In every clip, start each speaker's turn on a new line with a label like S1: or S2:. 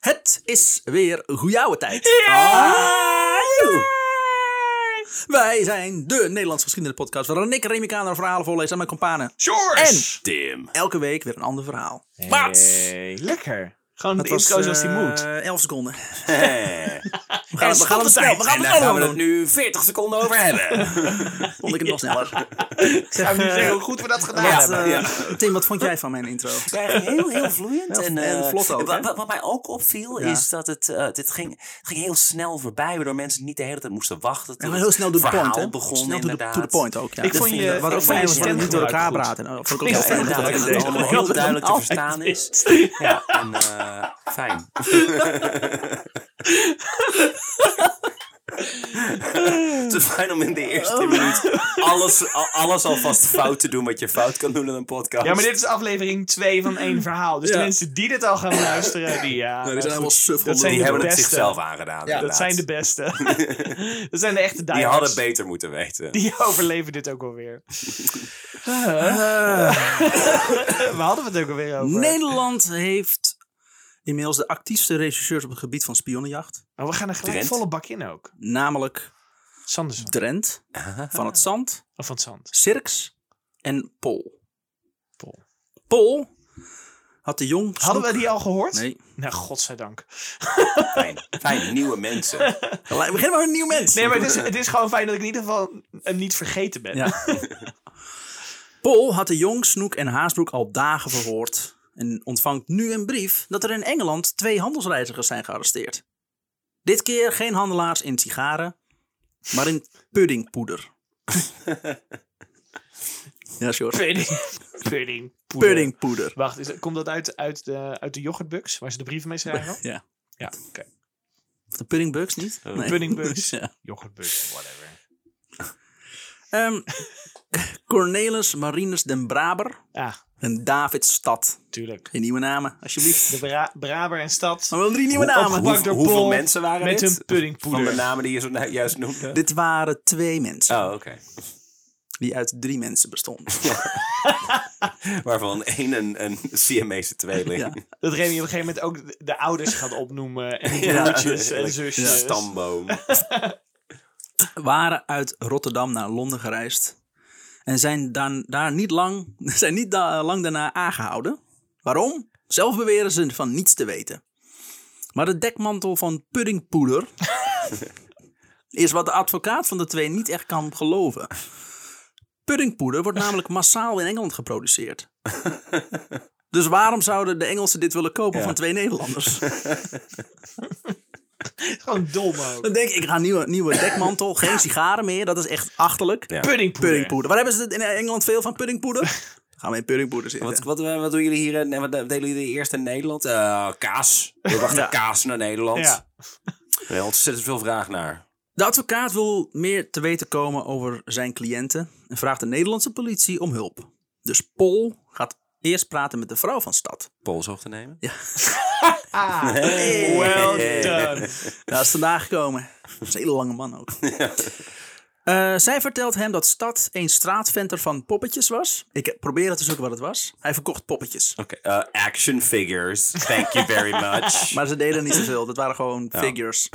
S1: Het is weer goeiouwe tijd. Ah,
S2: Ja!
S1: Wij zijn de Nederlandse geschiedenispodcast waarin ik Remy Kaner verhalen voorlees aan mijn kompanen.
S2: George! En
S3: Tim.
S1: Elke week weer een ander verhaal.
S2: Mats!
S3: Hey, lekker. Gewoon
S1: Dat
S3: de intro zoals die
S1: eh,
S3: moet.
S1: 11 seconden.
S3: We
S1: gaan het- we gaan het snel, we gaan het allemaal doen.
S3: nu 40 seconden over hebben.
S1: Vond ik het nog sneller.
S3: Gaan we nu zeggen hoe goed we dat gedaan
S1: Wat,
S3: hebben.
S1: eh, Tim, wat vond jij van mijn intro?
S4: Ja, heel, heel vloeiend. En,
S1: en
S4: eh,
S1: vlot ook,
S4: wa-
S1: hè?
S4: wa- Wat mij ook opviel
S1: Ja.
S4: is dat het, eh, het ging, het ging heel snel voorbij, waardoor mensen niet de hele tijd moesten wachten.
S1: Ja,
S4: tot
S1: maar
S4: het
S1: heel snel door de
S4: verhaal
S1: point, hè?
S4: begon,
S1: snel door de-
S4: inderdaad.
S1: to the point ook, ja.
S3: Ik
S1: Dat
S3: vond
S1: vind wat
S3: je- ik
S1: ook
S3: vond
S1: fijn
S3: je
S1: is dat we niet door
S3: stemgeluid
S1: elkaar
S3: goed.
S1: praten. Nou, dat vond ik ook
S3: Ja,
S1: wel
S4: Ja,
S1: fijn.
S4: inderdaad,
S3: dat
S4: dat
S3: ik
S4: het allemaal
S3: deze
S4: heel
S3: man
S4: duidelijk te
S3: altijd
S4: verstaan
S3: is.
S4: is. Ja, en eh, fijn. Het is fijn om in de eerste minuut alles, al- alles alvast fout te doen wat je fout kan doen in een podcast.
S3: Ja, maar dit is aflevering 2 van één verhaal. Dus
S1: Ja.
S3: de mensen die dit al gaan luisteren, die ja.
S1: die zijn
S3: goed,
S1: helemaal suffel.
S3: Dat zijn
S4: Die
S3: de
S4: hebben het
S3: beste.
S4: zichzelf aangedaan,
S3: Dat
S4: inderdaad.
S3: zijn de beste. dat zijn de echte
S4: Die
S3: diehards.
S4: hadden beter moeten weten.
S3: Die overleven dit ook alweer.
S1: Eh,
S3: We hadden we het ook alweer over?
S1: Nederland heeft inmiddels de actiefste rechercheurs op het gebied van spionnenjacht.
S3: Maar Oh, we gaan er gelijk
S4: Drent.
S3: volle bak in ook.
S1: Namelijk
S3: Sanders
S1: Drent,
S3: Ah.
S1: Van het Zand,
S3: of van het Zand.
S1: Sirks en Pol.
S3: Pol.
S1: Pol had de jong...
S3: Hadden we die al gehoord?
S1: Nee.
S3: Nou, godzijdank.
S4: Fijn, fijn, nieuwe mensen.
S3: Nou,
S1: We beginnen maar met een nieuw mens.
S3: Nee, maar het is, het is gewoon fijn dat ik in ieder geval hem niet vergeten ben.
S1: Ja. Paul had de jong Snoek en Haasbroek al dagen verhoord. En ontvangt nu een brief dat er in Engeland twee handelsreizigers zijn gearresteerd. Dit keer geen handelaars in sigaren, maar in puddingpoeder. ja, sure.
S3: Pudding. Pudding. Poeder.
S1: Puddingpoeder.
S3: Wacht, is, komt dat uit, uit, de, uit de yoghurtbux waar ze de brieven mee schrijven?
S1: Ja.
S3: Ja, oké.
S1: Of Oh, De puddingbugs niet? Nee.
S3: puddingbugs.
S1: ja.
S3: Yoghurtbux, whatever.
S1: Ehm, Cornelis Marinus den Braber
S3: Ah,
S1: en David Stad.
S3: tuurlijk.
S1: Geen nieuwe namen, alsjeblieft.
S3: De Bra- Braber en Stad
S1: Maar wel drie nieuwe namen.
S3: opgewonden.
S4: Hoe- hoeveel mensen waren
S3: met
S4: dit?
S3: hun
S4: Van de
S3: puddingpoeder.
S4: namen die je zo nou juist noemde?
S1: Dit waren twee mensen.
S4: Oh, oké.
S1: die uit drie mensen bestond.
S4: Waarvan één een, een CMA'se tweeling.
S1: Ja.
S3: Dat Remy op een gegeven moment ook de, de ouders gaat opnoemen. En de
S4: Ja,
S3: broertjes en
S4: eigenlijk
S3: zusjes.
S4: Stamboom.
S1: Waren uit Rotterdam naar Londen gereisd. En zijn dan, daar niet lang, zijn niet da- lang daarna aangehouden. Waarom? Zelf beweren ze van niets te weten. Maar de dekmantel van puddingpoeder is wat de advocaat van de twee niet echt kan geloven. Puddingpoeder wordt namelijk massaal in Engeland geproduceerd. Dus waarom zouden de Engelsen dit willen kopen van twee Nederlanders?
S3: Gewoon dom ook.
S1: Dan denk ik, ik ga een nieuwe, nieuwe dekmantel, geen sigaren meer. Dat is echt achterlijk.
S4: Ja.
S3: Puddingpoeder.
S1: Puddingpoeder. Waar hebben ze het in Engeland veel van? Puddingpoeder? Gaan we in puddingpoeder zitten.
S4: Wat, wat, eh, wat doen jullie hier en en wat delen jullie eerst in Nederland? Eh, kaas. We wachten kaas naar Nederland.
S3: Ja.
S4: Er is ontzettend veel vraag naar.
S1: De advocaat wil meer te weten komen over zijn cliënten en vraagt de Nederlandse politie om hulp. Dus Pol gaat eerst praten met de vrouw van stad.
S4: Pols hoog te nemen.
S3: Ah, well done.
S1: Dat is vandaag gekomen. Dat is een hele lange man ook. Eh, zij vertelt hem dat Stad een straatventer van poppetjes was. Ik probeerde te zoeken wat het was. Hij verkocht poppetjes.
S4: Oké. eh, action figures. Thank you very much.
S1: Maar ze deden niet zoveel. Dat waren gewoon figures.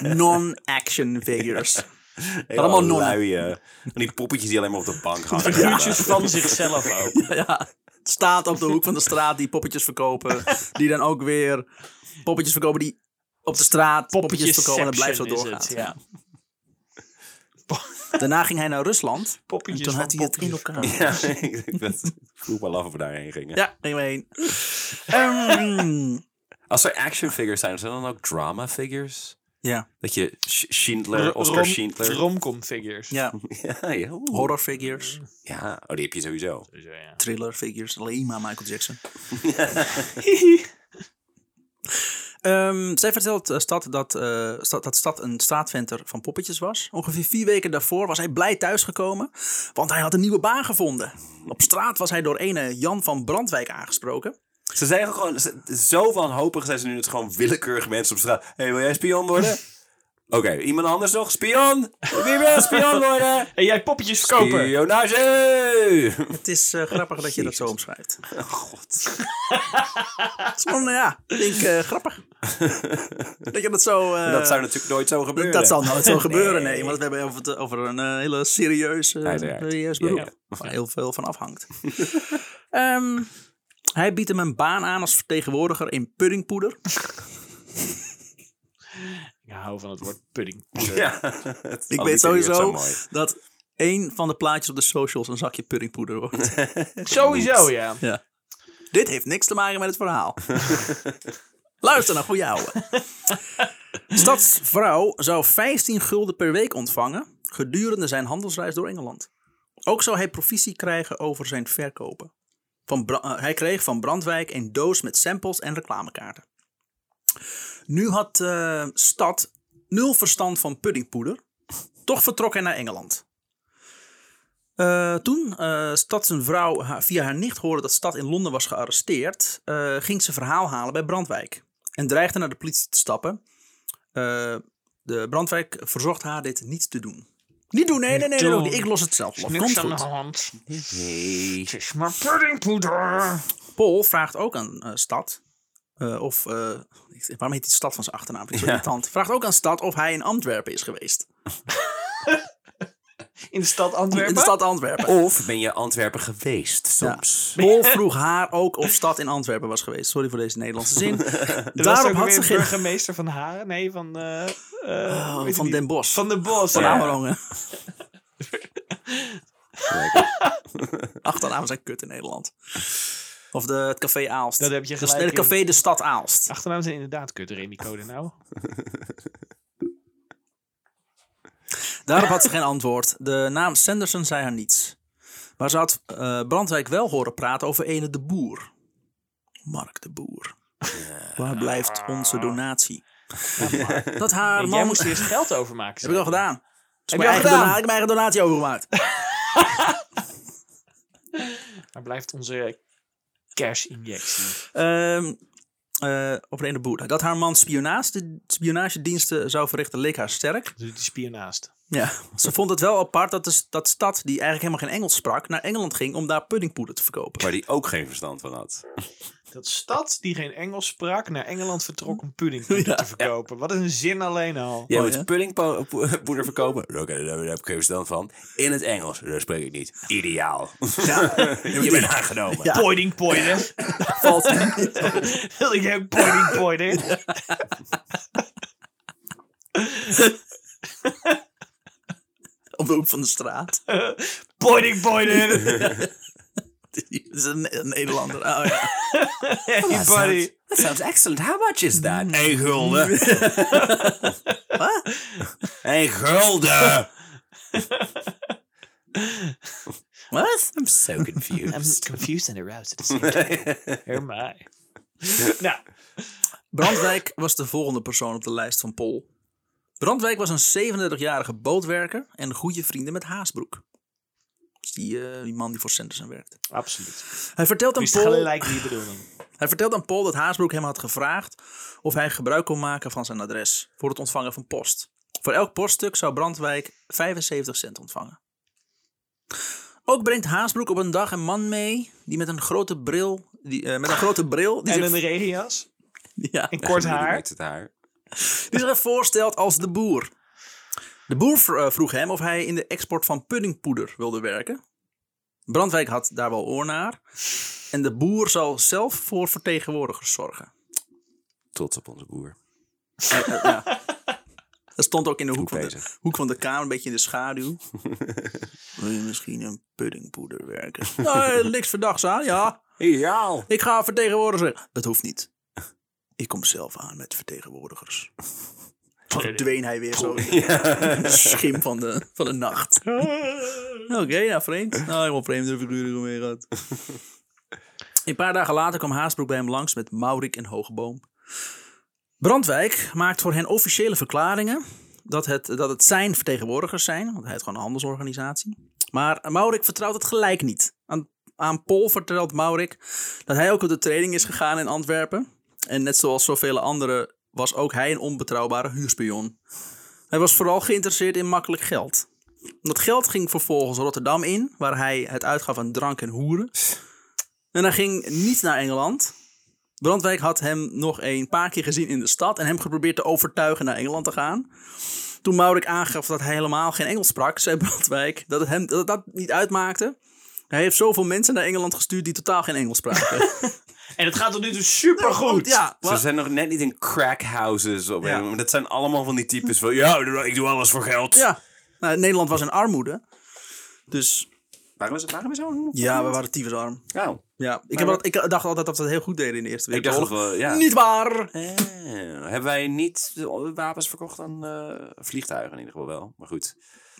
S1: Non-action figures.
S4: Heel
S1: allemaal nonnen.
S4: luie, van die poppetjes die alleen maar op de bank hangen.
S3: Broertjes van zichzelf ook.
S1: ja, het staat op de hoek van de straat die poppetjes verkopen. Die dan ook weer poppetjes verkopen die op de straat poppetjes, verkopen. En dat blijft zo
S3: Poppetjesception
S1: doorgaan.
S3: is het,
S1: Daarna ging hij naar Rusland.
S3: Poppetjes
S1: en toen
S3: van
S1: had hij het in elkaar.
S4: Ja, ik ik was- ik vroeg me af of we daarheen gingen.
S1: Ja, neem maar één. Ehm,
S4: Als er action figures zijn, zijn er dan ook drama figures?
S1: ja,
S4: Dat je Sch-
S3: ja.
S4: Schindler, Oscar Schindler.
S3: Romcom figures.
S1: ja,
S4: Ja, ja, oeh.
S1: horror figures,
S4: ja, oh, die heb je sowieso.
S3: Dus, eh, ja.
S1: thriller figures. Alleen maar Michael Jackson. Ehm, zij vertelt eh, Stad dat, eh, Stad dat Stad een straatventer van poppetjes was. Ongeveer vier weken daarvoor was hij blij thuisgekomen, want hij had een nieuwe baan gevonden. Op straat was hij door ene Jan van Brandwijk aangesproken.
S4: Ze zijn gewoon ze- zo wanhopig zijn ze nu dat ze gewoon willekeurig mensen op straat. hey, wil jij spion worden? Oké, iemand anders nog? Spion! Wie wil spion worden?
S3: En jij poppetjes verkopen.
S4: Spionage!
S1: Het is eh, grappig dat je dat zo omschrijft.
S4: Oh, god.
S1: Het is gewoon, nou ja, ik denk eh, grappig. dat je dat zo... eh,
S4: dat zou natuurlijk nooit zo gebeuren.
S1: dat zal nooit zo gebeuren,
S4: Nee.
S1: nee. Want we hebben over, het- over een eh, hele serieuze
S4: Uiteraard.
S1: serieus
S4: Ja,
S1: beroep.
S4: ja.
S1: Waar heel veel van afhangt. Ehm, hij biedt hem een baan aan als vertegenwoordiger in
S4: Oh,
S1: puddingpoeder.
S3: Ik hou van het woord pudding.
S4: Ja, het
S1: Ik weet
S4: allitereert
S1: sowieso
S4: zo mooi.
S1: dat één van de plaatjes op de socials een zakje puddingpoeder wordt.
S3: Sowieso, ja.
S1: ja. Dit heeft niks te maken met het verhaal. Luister naar goeie ouwe. Stadsvrouw zou 15 gulden per week ontvangen gedurende zijn handelsreis door Engeland. Ook zou hij provisie krijgen over zijn verkopen. Van Bra- eh, hij kreeg van Brandwijk een doos met samples en reclamekaarten. Nu had eh, Stad nul verstand van puddingpoeder. Toch vertrok hij naar Engeland. Eh, toen eh Stad zijn vrouw ha- via haar nicht hoorde dat Stad in Londen was gearresteerd, eh, ging ze verhaal halen bij Brandwijk. En dreigde naar de politie te stappen. Eh, de Brandwijk verzocht haar dit niet te doen. Niet doen, nee, nee, nee, nee, nee, ik los het zelf. op. Komt
S3: Niks aan de
S1: goed.
S3: hand.
S4: Nee.
S3: Het is maar puddingpoeder.
S1: Paul vraagt ook aan eh, Stad. eh, of. eh, ik zeg, waarom heet die Stad van zijn achternaam? Vind ik zo irritant. Vraagt ook aan Stad of hij in Antwerpen is geweest.
S3: In de stad Antwerpen.
S1: In de stad Antwerpen.
S4: Of ben je Antwerpen geweest soms?
S1: Paul vroeg haar ook of Stad in Antwerpen was geweest. Sorry voor deze Nederlandse zin. Daarop had ze geen. Oh,
S3: burgemeester van Haren. Nee, van... eh, eh, weet ik
S1: Van
S3: niet.
S1: Den Bosch. Van
S3: Van de Bos.
S1: de
S3: ja.
S1: Amerongen. Achternamen zijn kut in Nederland. Of de, het café Aalst.
S3: Dat heb je
S1: De-
S3: gelijk
S1: Het
S3: in.
S1: café De Stad Aalst.
S3: Achternaam zijn inderdaad kut, Remy Code nou.
S1: Ah, Daarop had ze geen antwoord. De naam Sanderson zei haar niets. Maar ze had eh, Brandwijk wel horen praten over Ene de Boer. Mark de Boer. Waar blijft onze donatie? Dat haar
S3: Jij
S1: man...
S3: moest eerst geld overmaken.
S1: Heb ik al
S3: zei
S1: gedaan. Heb ik,
S3: Heb je al
S1: eigen
S3: gedaan?
S1: dona- heb ik mijn eigen donatie overgemaakt.
S3: je. Maar blijft onze cash-injectie.
S1: Ehm eh over Ene de Boer. Dat haar man spionage, spionagediensten zou verrichten leek haar sterk.
S3: Dus die spier naast.
S1: Ja. Ze vond het wel apart dat de s- dat stad, die eigenlijk helemaal geen Engels sprak, naar Engeland ging om daar puddingpoeder te verkopen.
S4: Waar die ook geen verstand van had.
S3: Dat stad die geen Engels sprak naar Engeland vertrok om puddingpoeder te verkopen. Wat een zin alleen al.
S4: Jij
S1: Mooi,
S4: moet
S1: hè?
S4: puddingpoeder verkopen? Oké, daar heb ik geen verstand van. In het Engels, dat spreek ik niet. Ideaal. je bent aangenomen.
S1: Ja.
S3: Poiding poider.
S1: Valt
S3: Wil ik ook poiding poider?
S1: op de hoek van de straat.
S3: Poiding poider.
S1: Het is een, een Nederlander. Oh, ja.
S3: Everybody.
S4: That sounds excellent. How much is that? Een gulden.
S1: Wat?
S4: Een gulden.
S1: Wat?
S4: I'm so confused.
S3: confused and aroused at the same time. Hear my. Nou,
S1: Brandwijk was de volgende persoon op de lijst van Pol. Brandwijk was een 37-jarige bootwerker en goede vrienden met Haasbroek. Dus die, eh, die man die voor Sanderson werkt.
S3: absoluut.
S1: Hij vertelt aan
S3: Wist
S1: Paul...
S3: gelijk die bedoeling.
S1: Hij vertelt aan Paul dat Haasbroek hem had gevraagd of hij gebruik kon maken van zijn adres voor het ontvangen van post. Voor elk poststuk zou Brandwijk 75 cent ontvangen. Ook brengt Haasbroek op een dag een man mee die met een grote bril. Die, eh, met een grote bril. Die,
S3: En
S1: zich,
S3: een regenjas.
S1: ja,
S3: En kort haar.
S4: Met het haar.
S1: die zich voorstelt als de boer. De boer v- eh, vroeg hem of hij in de export van puddingpoeder wilde werken. Brandwijk had daar wel oor naar. En de boer zal zelf voor vertegenwoordigers zorgen.
S4: Trots op onze boer.
S1: Eh, ja. Dat stond ook in de hoek van,
S4: Goed
S1: de,
S4: bezig.
S1: hoek van de kamer, een beetje in de schaduw. Wil je misschien een puddingpoeder werken? Nee, niks verdachts aan, ja.
S4: Ideaal.
S1: Ik ga vertegenwoordiger. Dat hoeft niet. Ik kom zelf aan met vertegenwoordigers. Verdween hij weer zo. in de Schim van de, van de nacht. Oké, nou vreemd. Nou, helemaal vreemde figuren mee gehad. Een paar dagen later kwam Haasbroek bij hem langs met Maurik en Hogeboom. Brandwijk maakt voor hen officiële verklaringen dat het, dat het zijn vertegenwoordigers zijn, want hij heeft gewoon een handelsorganisatie. Maar Maurik vertrouwt het gelijk niet. Aan, aan Paul vertelt Maurik dat hij ook op de training is gegaan in Antwerpen. En net zoals zoveel anderen was ook hij een onbetrouwbare huurspion. Hij was vooral geïnteresseerd in makkelijk geld. Dat geld ging vervolgens Rotterdam in, waar hij het uitgaf aan drank en hoeren. En hij ging niet naar Engeland. Brandwijk had hem nog een paar keer gezien in de stad en hem geprobeerd te overtuigen naar Engeland te gaan. Toen Maurik aangaf dat hij helemaal geen Engels sprak, zei Brandwijk dat het hem dat, het dat niet uitmaakte. Hij heeft zoveel mensen naar Engeland gestuurd die totaal geen Engels spraken.
S3: En het gaat tot nu toe supergoed.
S1: ja,
S4: Ze zijn nog net niet in crackhouses. Of
S1: Ja.
S4: een- maar dat zijn allemaal van die types van... Ja, ik doe alles voor geld.
S1: ja. Nou, Nederland was in armoede. Dus
S4: Waarom, is, waarom is zo?
S1: ja, we waren tyfusarm.
S4: Nou,
S1: Ja, ik, heb al- ik dacht altijd dat we het heel goed deden in de Eerste
S4: ik dacht dat
S1: Wereldoorlog.
S4: we... Ja.
S1: Niet waar!
S4: Eh, hebben wij niet de wapens verkocht aan eh, vliegtuigen in ieder geval wel. Maar goed,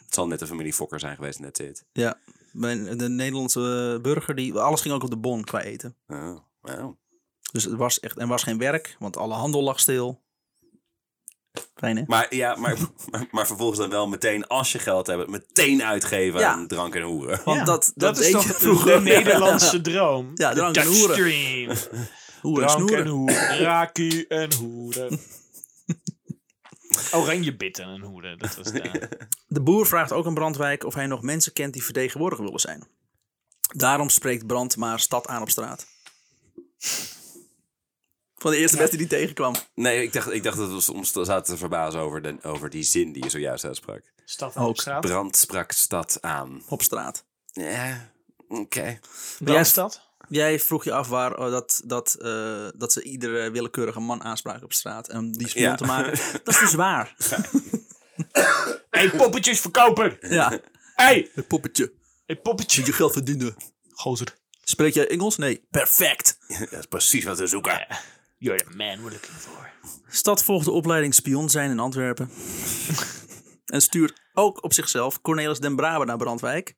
S4: het zal net de familie Fokker zijn geweest, net dit.
S1: Ja, mijn- de Nederlandse burger, die, alles ging ook op de bon qua eten.
S4: Oh, wow.
S1: Dus het was echt, en was geen werk, want alle handel lag stil. Fijn hè?
S4: Maar, ja, maar, maar, maar vervolgens dan wel meteen, als je geld hebt, meteen uitgeven
S1: Ja.
S4: aan drank en hoeren.
S1: Want
S3: Ja,
S1: dat, dat,
S3: is
S1: deed
S3: toch
S1: je
S3: de-
S1: vroeger.
S3: de Nederlandse droom.
S1: Ja, drank en
S3: Dutch
S1: hoeren.
S3: Dream.
S1: Hoeren en
S3: Drank
S1: snoeren.
S3: en hoeren. Raku en hoeren. Oranje bitten en hoeren. Dat was daar.
S1: De boer vraagt ook aan Brandwijk of hij nog mensen kent die vertegenwoordiger willen zijn. Daarom spreekt Brand maar stad aan op straat. Van de eerste beste die tegenkwam.
S4: Nee, ik dacht, ik dacht dat we ons zaten te verbazen over, de, over die zin die je zojuist uitsprak.
S3: Stad aan de
S1: Ook
S3: straat.
S4: Brand sprak stad aan.
S1: Op straat.
S4: Ja, oké.
S3: Brandstad.
S1: Jij vroeg je af waar eh, dat, dat, eh, dat ze iedere willekeurige man aanspraken op straat. En die spion
S4: Ja.
S1: te maken. Dat is dus waar.
S3: Hé, hey, poppetjes verkopen.
S1: Ja.
S3: Hé, hey,
S1: Het poppetje.
S3: poppetje.
S1: Je geld verdienen.
S3: Gozer.
S1: Spreek jij Engels? Nee. Perfect.
S4: Dat is precies wat we zoeken.
S3: You're the man we're looking for.
S1: Stad volgt de opleiding spion zijn in Antwerpen. en stuurt ook op zichzelf Cornelis Den Braber naar Brandwijk.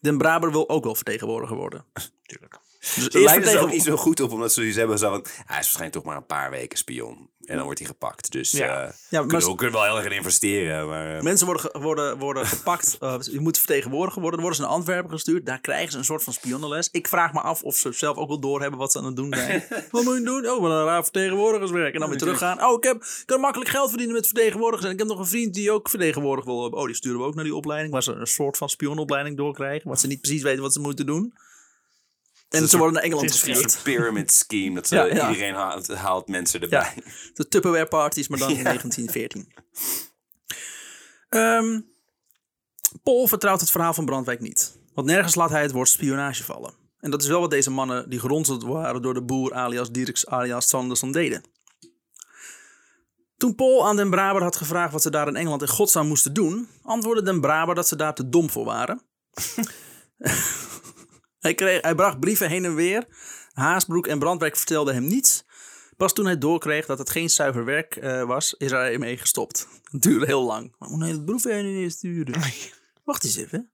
S1: Den Braber wil ook wel vertegenwoordiger worden.
S3: Tuurlijk.
S1: Dus
S4: Ze
S1: eerst
S4: lijken er ook niet
S1: vertegen-
S4: zo goed op, omdat ze zoiets hebben zo van... "Ah, Hij is waarschijnlijk toch maar een paar weken spion. En dan wordt hij gepakt. Dus eh
S3: Ja.
S1: Ja,
S4: kunnen
S1: maar-
S4: we kunnen wel heel erg in investeren. Maar, eh,
S1: Mensen worden, ge- worden, worden gepakt. eh, je moet vertegenwoordiger worden. Dan worden ze naar Antwerpen gestuurd. Daar krijgen ze een soort van spionnenles. Ik vraag me af of ze zelf ook wel doorhebben wat ze aan het doen zijn. wat moet je doen? Oh, wat een raar vertegenwoordigerswerk. En dan weer teruggaan. Oh, ik, heb, ik kan makkelijk geld verdienen met vertegenwoordigers. En ik heb nog een vriend die ook vertegenwoordiger wil hebben. Oh, die sturen we ook naar die opleiding. Waar ze een soort van spionnenopleiding doorkrijgen. Wat ze niet precies weten wat ze moeten doen. En ze worden naar Engeland
S3: het is
S4: een
S1: gestuurd.
S4: soort pyramid scheme. Dat ze,
S1: Ja, ja.
S4: iedereen haalt, haalt mensen erbij.
S1: De Tupperware parties, maar dan in 1914. Ehm Paul vertrouwt het verhaal van Brandwijk niet. Want nergens laat hij het woord spionage vallen. En dat is wel wat deze mannen die geronseld waren door de boer alias Dirks alias Sanderson deden. Toen Paul aan Den Braber had gevraagd wat ze daar in Engeland in godsnaam moesten doen, antwoordde Den Braber dat ze daar te dom voor waren. hij, kreeg, hij bracht brieven heen en weer. Haasbroek en Brandwijk vertelden hem niets. Pas toen hij doorkreeg dat het geen zuiver werk eh, was, is hij ermee gestopt. Het duurde heel lang. Maar hoe nou het broef heen en weer sturen? Wacht eens even.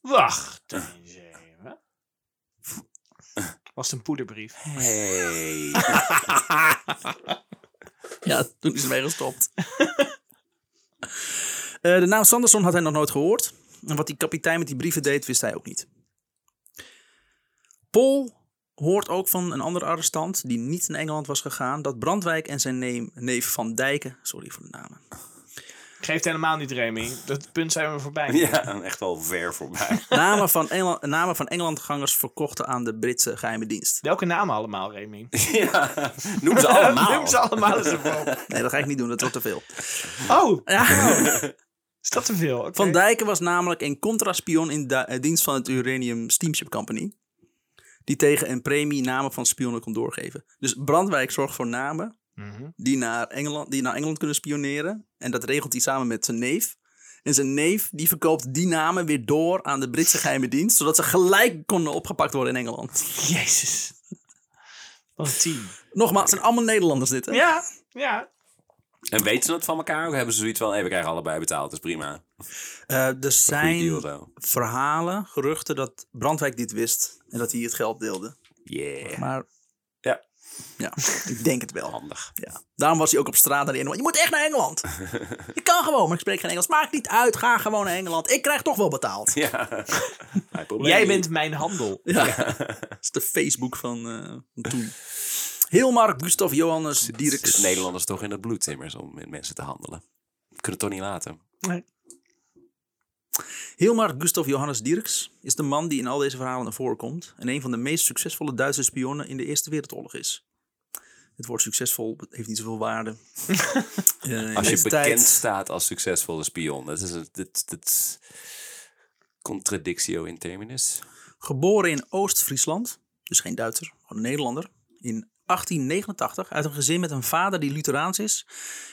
S3: Wacht eens even. Was het een poederbrief?
S4: Hey.
S1: Ja, toen is hij mee gestopt. Eh, de naam Sanderson had hij nog nooit gehoord. En wat die kapitein met die brieven deed, wist hij ook niet. Paul hoort ook van een andere arrestant die niet naar Engeland was gegaan... dat Brandwijk en zijn neem- neef Van Dijken... Sorry voor de namen.
S3: Geeft helemaal niet, Remy. Dat punt zijn we voorbij.
S4: ja, echt wel ver voorbij.
S1: Namen van, Engeland, namen van Engelandgangers verkochten aan de Britse geheime dienst.
S3: Welke namen allemaal, Remy?
S4: ja, noem ze allemaal.
S3: Noem ze allemaal eens op.
S1: Nee, dat ga ik niet doen, dat wordt te veel.
S3: Oh,
S1: Ja.
S3: is dat te veel? Oké.
S1: Van Dijken was namelijk een contraspion in da- eh, dienst van het Uranium Steamship Company. Die tegen een premie namen van spionnen kon doorgeven. Dus Brandwijk zorgt voor namen
S3: Mhm.
S1: die naar Engeland, die naar Engeland kunnen spioneren. En dat regelt hij samen met zijn neef. En zijn neef die verkoopt die namen weer door aan de Britse geheime dienst. Zodat ze gelijk konden opgepakt worden in Engeland.
S3: Jezus. Wat een team.
S1: Nogmaals, het zijn allemaal Nederlanders dit hè?
S3: Ja, ja.
S4: En weten ze dat van elkaar? Of hebben ze zoiets van... Hey, we krijgen allebei betaald, dus prima.
S1: Eh, er
S4: Goeie deal
S1: zijn
S4: zo.
S1: verhalen, geruchten dat Brandwijk dit wist. En dat hij het geld deelde.
S4: Yeah.
S1: Maar
S4: Ja,
S1: ja, ik denk het wel.
S4: handig.
S1: Ja. Daarom was hij ook op straat naar die Engeland. Je moet echt naar Engeland. Je kan gewoon, maar ik spreek geen Engels. Maakt niet uit, ga gewoon naar Engeland. Ik krijg toch wel betaald.
S4: Ja. Geen probleem.
S3: Jij bent mijn handel.
S1: Ja. Dat is de Facebook van, eh, van toen. Hilmar, Gustav, Johannes,
S4: Het
S1: Dierks.
S4: zit Nederlanders toch in het bloed immers om met mensen te handelen. kunnen het toch niet laten.
S1: Hilmar Gustav Johannes Dirks is de man die in al deze verhalen naar voren komt en een van de meest succesvolle Duitse spionnen in de Eerste Wereldoorlog is. Het woord succesvol heeft niet zoveel waarde. Eh, in
S4: Als je
S1: deze
S4: bekend
S1: tijd-
S4: staat als succesvolle spion. Dat is een dit, dit, contradictio in terminis.
S1: Geboren in Oost-Friesland, dus geen Duitser, gewoon een Nederlander, in 1889 uit een gezin met een vader die Lutheraans is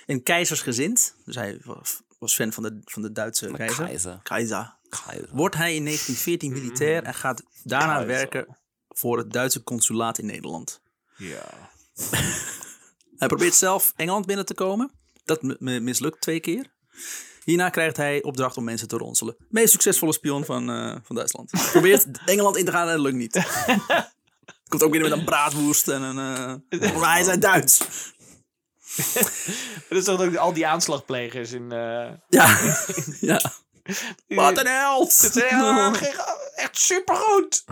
S1: en keizersgezind. Dus hij was, was fan van de, van de Duitse keizer.
S4: Keizer.
S1: Keizer.
S4: Keizer.
S1: Wordt hij in 1914 militair en gaat daarna
S3: Keizer.
S1: werken voor het Duitse consulaat in Nederland.
S3: Ja.
S1: Hij probeert zelf Engeland binnen te komen. Dat m- m- mislukt twee keer. Hierna krijgt hij opdracht om mensen te ronselen. Meest succesvolle spion van, eh, van Duitsland. Probeert Engeland in te gaan en dat lukt niet. Komt ook weer met een braadwoest en een... eh, maar hij is uit Duits.
S3: Dat is toch ook al die aanslagplegers in... eh
S1: Ja. ja. Wat een
S3: Het
S1: held!
S3: is helemaal geen- echt supergoed!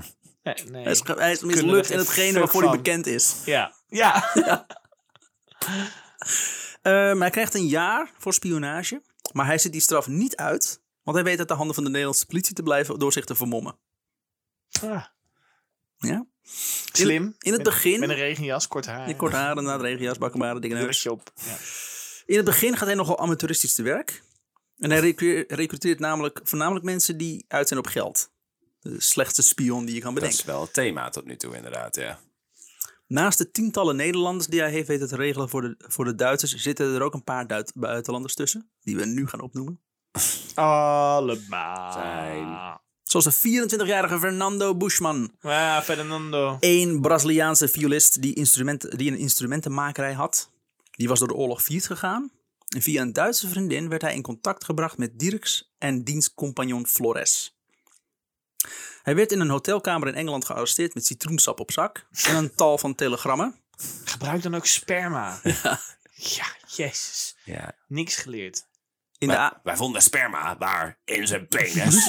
S3: Nee, nee.
S1: Hij is, ge- hij is
S3: Kunnen
S1: mislukt
S3: er
S1: in
S3: geen
S1: hetgene
S3: fuck
S1: waarvoor hij
S3: van.
S1: bekend is.
S3: Ja. Ja.
S1: Ehm, hij krijgt een jaar voor spionage. Maar hij zit die straf niet uit. Want hij weet uit de handen van de Nederlandse politie te blijven door zich te vermommen.
S3: Ah,
S1: Ja?
S3: Slim.
S1: In het
S3: Met-
S1: begin...
S3: Met een regenjas, kort haar.
S1: Je kort haren, na de regenjas, bakkenbaren, dikke neus.
S3: Brilletje op. Ja.
S1: In het begin gaat hij nogal amateuristisch te werk. En hij recru- recruteert namelijk voornamelijk mensen die uit zijn op geld. De slechtste spion die je kan
S4: Dat
S1: bedenken.
S4: is wel het thema tot nu toe inderdaad, ja.
S1: Naast de tientallen Nederlanders die hij heeft weten te regelen voor de, voor de Duitsers, zitten er ook een paar Duit- buitenlanders tussen. Die we nu gaan opnoemen.
S3: Allemaal.
S4: Zijn.
S1: Zoals de 24-jarige Fernando Buschman.
S3: Ah, Fernando.
S1: Eén Braziliaanse violist die, instrument, die een instrumentenmakerij had. Die was door de oorlog failliet gegaan. En via een Duitse vriendin werd hij in contact gebracht met Dirks en dienstcompagnon Flores. Hij werd in een hotelkamer in Engeland gearresteerd met citroensap op zak en een tal van telegrammen.
S3: Gebruik dan ook sperma. Ja. jezus.
S4: ja.
S3: Niks geleerd.
S1: In de
S4: Wij,
S1: a-
S4: wij vonden sperma daar in zijn penis.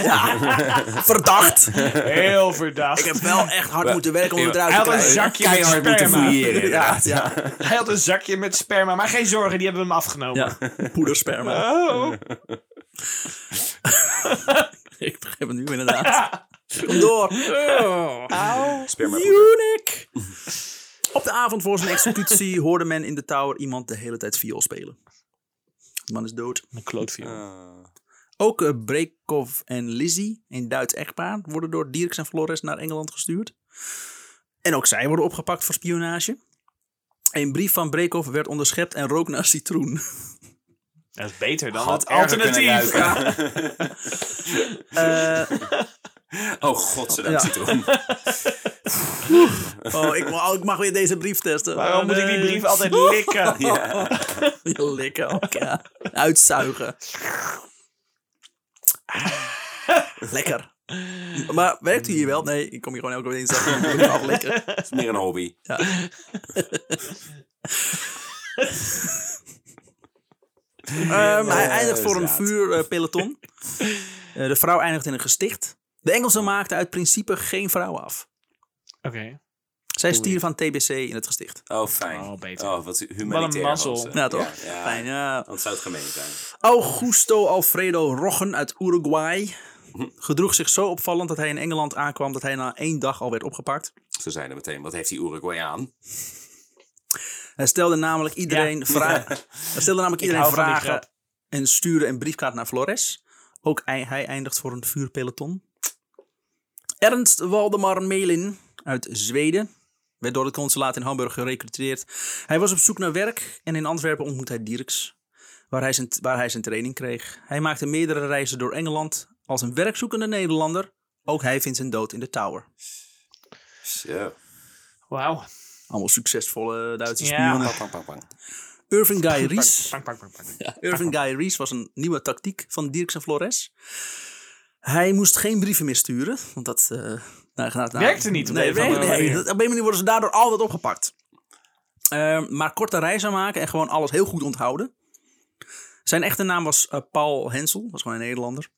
S1: Verdacht!
S3: Heel verdacht.
S1: Ik heb wel echt hard moeten werken om het eruit
S4: Hij
S1: te
S4: had
S1: krijgen.
S3: een zakje met
S4: Keihard moeten
S3: sperma.
S4: fouilleren inderdaad.
S1: Ja,
S3: Hij had een zakje met sperma, maar geen zorgen, die hebben we hem afgenomen.
S1: ja. poedersperma.
S3: Oh.
S1: Ik begrijp het nu inderdaad. Kom door!
S3: Ah.
S4: Sperma
S1: Unique! Op de avond voor zijn executie hoorde men in de tower iemand de hele tijd viool spelen. De man is dood.
S3: Een klootviool.
S4: Eh,
S1: Ook eh, Brekov en Lizzie, een Duits echtpaar, worden door Dirks en Flores naar Engeland gestuurd. En ook zij worden opgepakt voor spionage. Een brief van Brekov werd onderschept en rook naar citroen.
S3: Dat is beter dan
S4: Had
S3: het
S4: erger kunnen
S3: alternatief.
S4: ruiken.
S1: Eh,
S4: Oh god, ze
S1: Ja.
S4: dat citroen.
S1: oh, ik, mag- ik mag weer deze brief testen.
S3: Waarom moet ik die brief altijd likken?
S4: Ja.
S1: Je likken ook, ja. Uitzuigen. Lekker. Maar werkt u hier wel? Nee, ik kom hier gewoon elke dinsdag en ik moet het aflikken.
S4: Dat is meer een hobby.
S1: Ehm, hij eindigt voor een
S4: Inderdaad.
S1: vuurpeloton. Eh, de vrouw eindigt in een gesticht. De Engelsen maakten uit principe geen vrouwen af.
S3: Oké.
S1: Zij stierf van TBC in het gesticht.
S4: Oh, fijn.
S3: Oh, beter.
S4: wat humanitair
S3: Wat een
S4: was
S3: mazzel.
S4: ze.
S1: Ja, toch?
S4: Ja, ja.
S1: Fijn, ja.
S4: Want het zou het gemeen zijn.
S1: Augusto Alfredo Roggen uit Uruguay gedroeg zich zo opvallend dat hij in Engeland aankwam dat hij na één dag al werd opgepakt.
S4: Ze zeiden meteen, wat heeft die Uruguay aan?
S1: Hij stelde namelijk iedereen, vra- hij stelde namelijk iedereen
S3: hou van die
S1: vragen
S3: grap.
S1: en stuurde een briefkaart naar Flores. Ook hij, hij eindigt voor een vuurpeloton. Ernst Waldemar Melin uit Zweden werd door het consulaat in Hamburg gerecruiteerd. Hij was op zoek naar werk en in Antwerpen ontmoet hij Dirks, waar hij zijn, waar hij zijn training kreeg. Hij maakte meerdere reizen door Engeland als een werkzoekende Nederlander. Ook hij vindt zijn dood in de Tower.
S4: Zo.
S3: Wauw.
S1: Allemaal succesvolle Duitse
S3: Ja.
S1: spionnen.
S4: Pang, pang, pang, pang.
S1: Irving Guy Ries.
S3: Pak, pak, pak, pak.
S1: Irving Guy Rees was een nieuwe tactiek van Dirks en Flores. Hij moest geen brieven meer sturen, want dat... eh, nou, nou, nou,
S3: Werkte niet op
S1: Nee,
S3: een of andere
S1: nee, nee,
S3: manier.
S1: dat- op een manier worden ze daardoor altijd opgepakt. Eh, maar korte reizen maken en gewoon alles heel goed onthouden. Zijn echte naam was eh, Paul Hensel, was gewoon een Nederlander.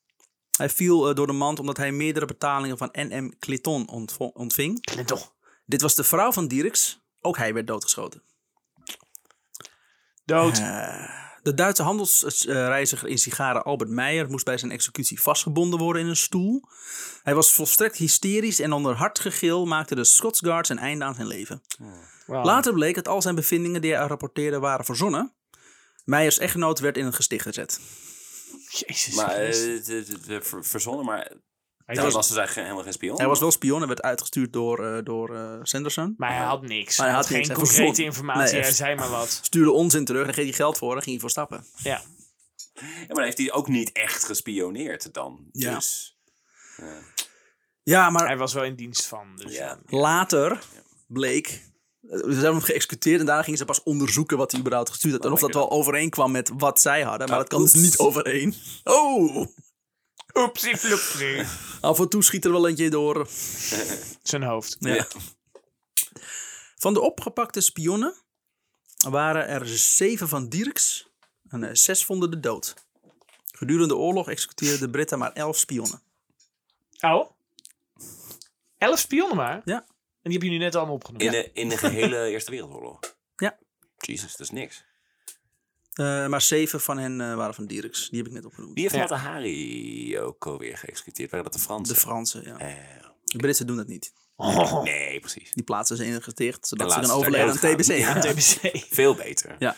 S1: Hij viel eh, door de mand omdat hij meerdere betalingen van NM Clinton ontvo- ontving.
S3: En toch.
S1: Dit was de vrouw van Dirks, ook hij werd doodgeschoten.
S3: Dood.
S1: Eh, De Duitse handelsreiziger in sigaren Albert Meijer moest bij zijn executie vastgebonden worden in een stoel. Hij was volstrekt hysterisch en onder hard gegil maakte de Scots Guards een einde aan zijn leven.
S3: Wauw.
S1: Later bleek dat al zijn bevindingen die hij rapporteerde waren verzonnen. Meijers echtgenoot werd in een gesticht gezet.
S3: Jezus.
S4: Maar eh,
S3: Christus.
S4: het- het- het- het ver- verzonnen, maar
S3: Hij
S4: dat
S3: was-
S4: was dus eigenlijk geen- helemaal geen spion.
S1: Hij was wel spion en werd uitgestuurd door, eh, door eh, Sanderson.
S3: maar hij had niks.
S1: Maar
S3: Hij had,
S1: niks.
S3: geen
S1: Hij
S3: concrete
S1: verzon.
S3: informatie.
S1: Nee,
S3: hij
S1: echt.
S3: zei maar wat.
S1: Stuurde onzin terug, daar geef je geld voor, daar ging je voor stappen.
S3: Ja.
S4: Ja, maar dan heeft hij ook niet echt gespioneerd dan.
S1: Ja.
S4: Dus,
S1: Ja, maar
S3: Hij was wel in dienst van. Dus
S4: ja.
S1: Later bleek. eh, Ze hebben hem geëxecuteerd en daarna gingen ze pas onderzoeken wat hij überhaupt gestuurd
S4: Oh
S1: had. En of dat wel overeenkwam met wat zij hadden, maar dat kan dus niet overeen. Oh!
S3: Oepsie floepsie.
S1: Af en toe schiet er wel eentje door.
S3: Zijn hoofd.
S1: Ja. Van de opgepakte spionnen waren er zeven van Dirks en eh, zes vonden de dood. Gedurende de oorlog executeerden de Britten maar elf spionnen.
S3: Oh. Elf spionnen maar.
S1: Ja.
S3: En die heb je nu net allemaal opgenomen.
S4: In, de, in de gehele Eerste Wereldoorlog.
S1: Ja.
S4: Jezus, dat is niks.
S1: Eh, maar zeven van hen eh, waren van Dirks. Die heb ik net opgenoemd.
S4: Wie heeft
S3: Ja.
S4: Matahari ook alweer geëxecuteerd? Waren dat de
S1: De
S4: Fransen?
S1: Fransen, ja.
S4: Eh,
S1: De Britten doen dat niet.
S3: Oh.
S4: nee, precies.
S1: Die plaatsen ze in een gesticht, zodat
S4: De
S1: ze
S4: laatste
S1: kunnen overleden aan
S4: zijn
S1: TBC.
S4: doodgaan.
S1: Ja.
S3: TBC.
S4: Veel beter.
S1: Ja.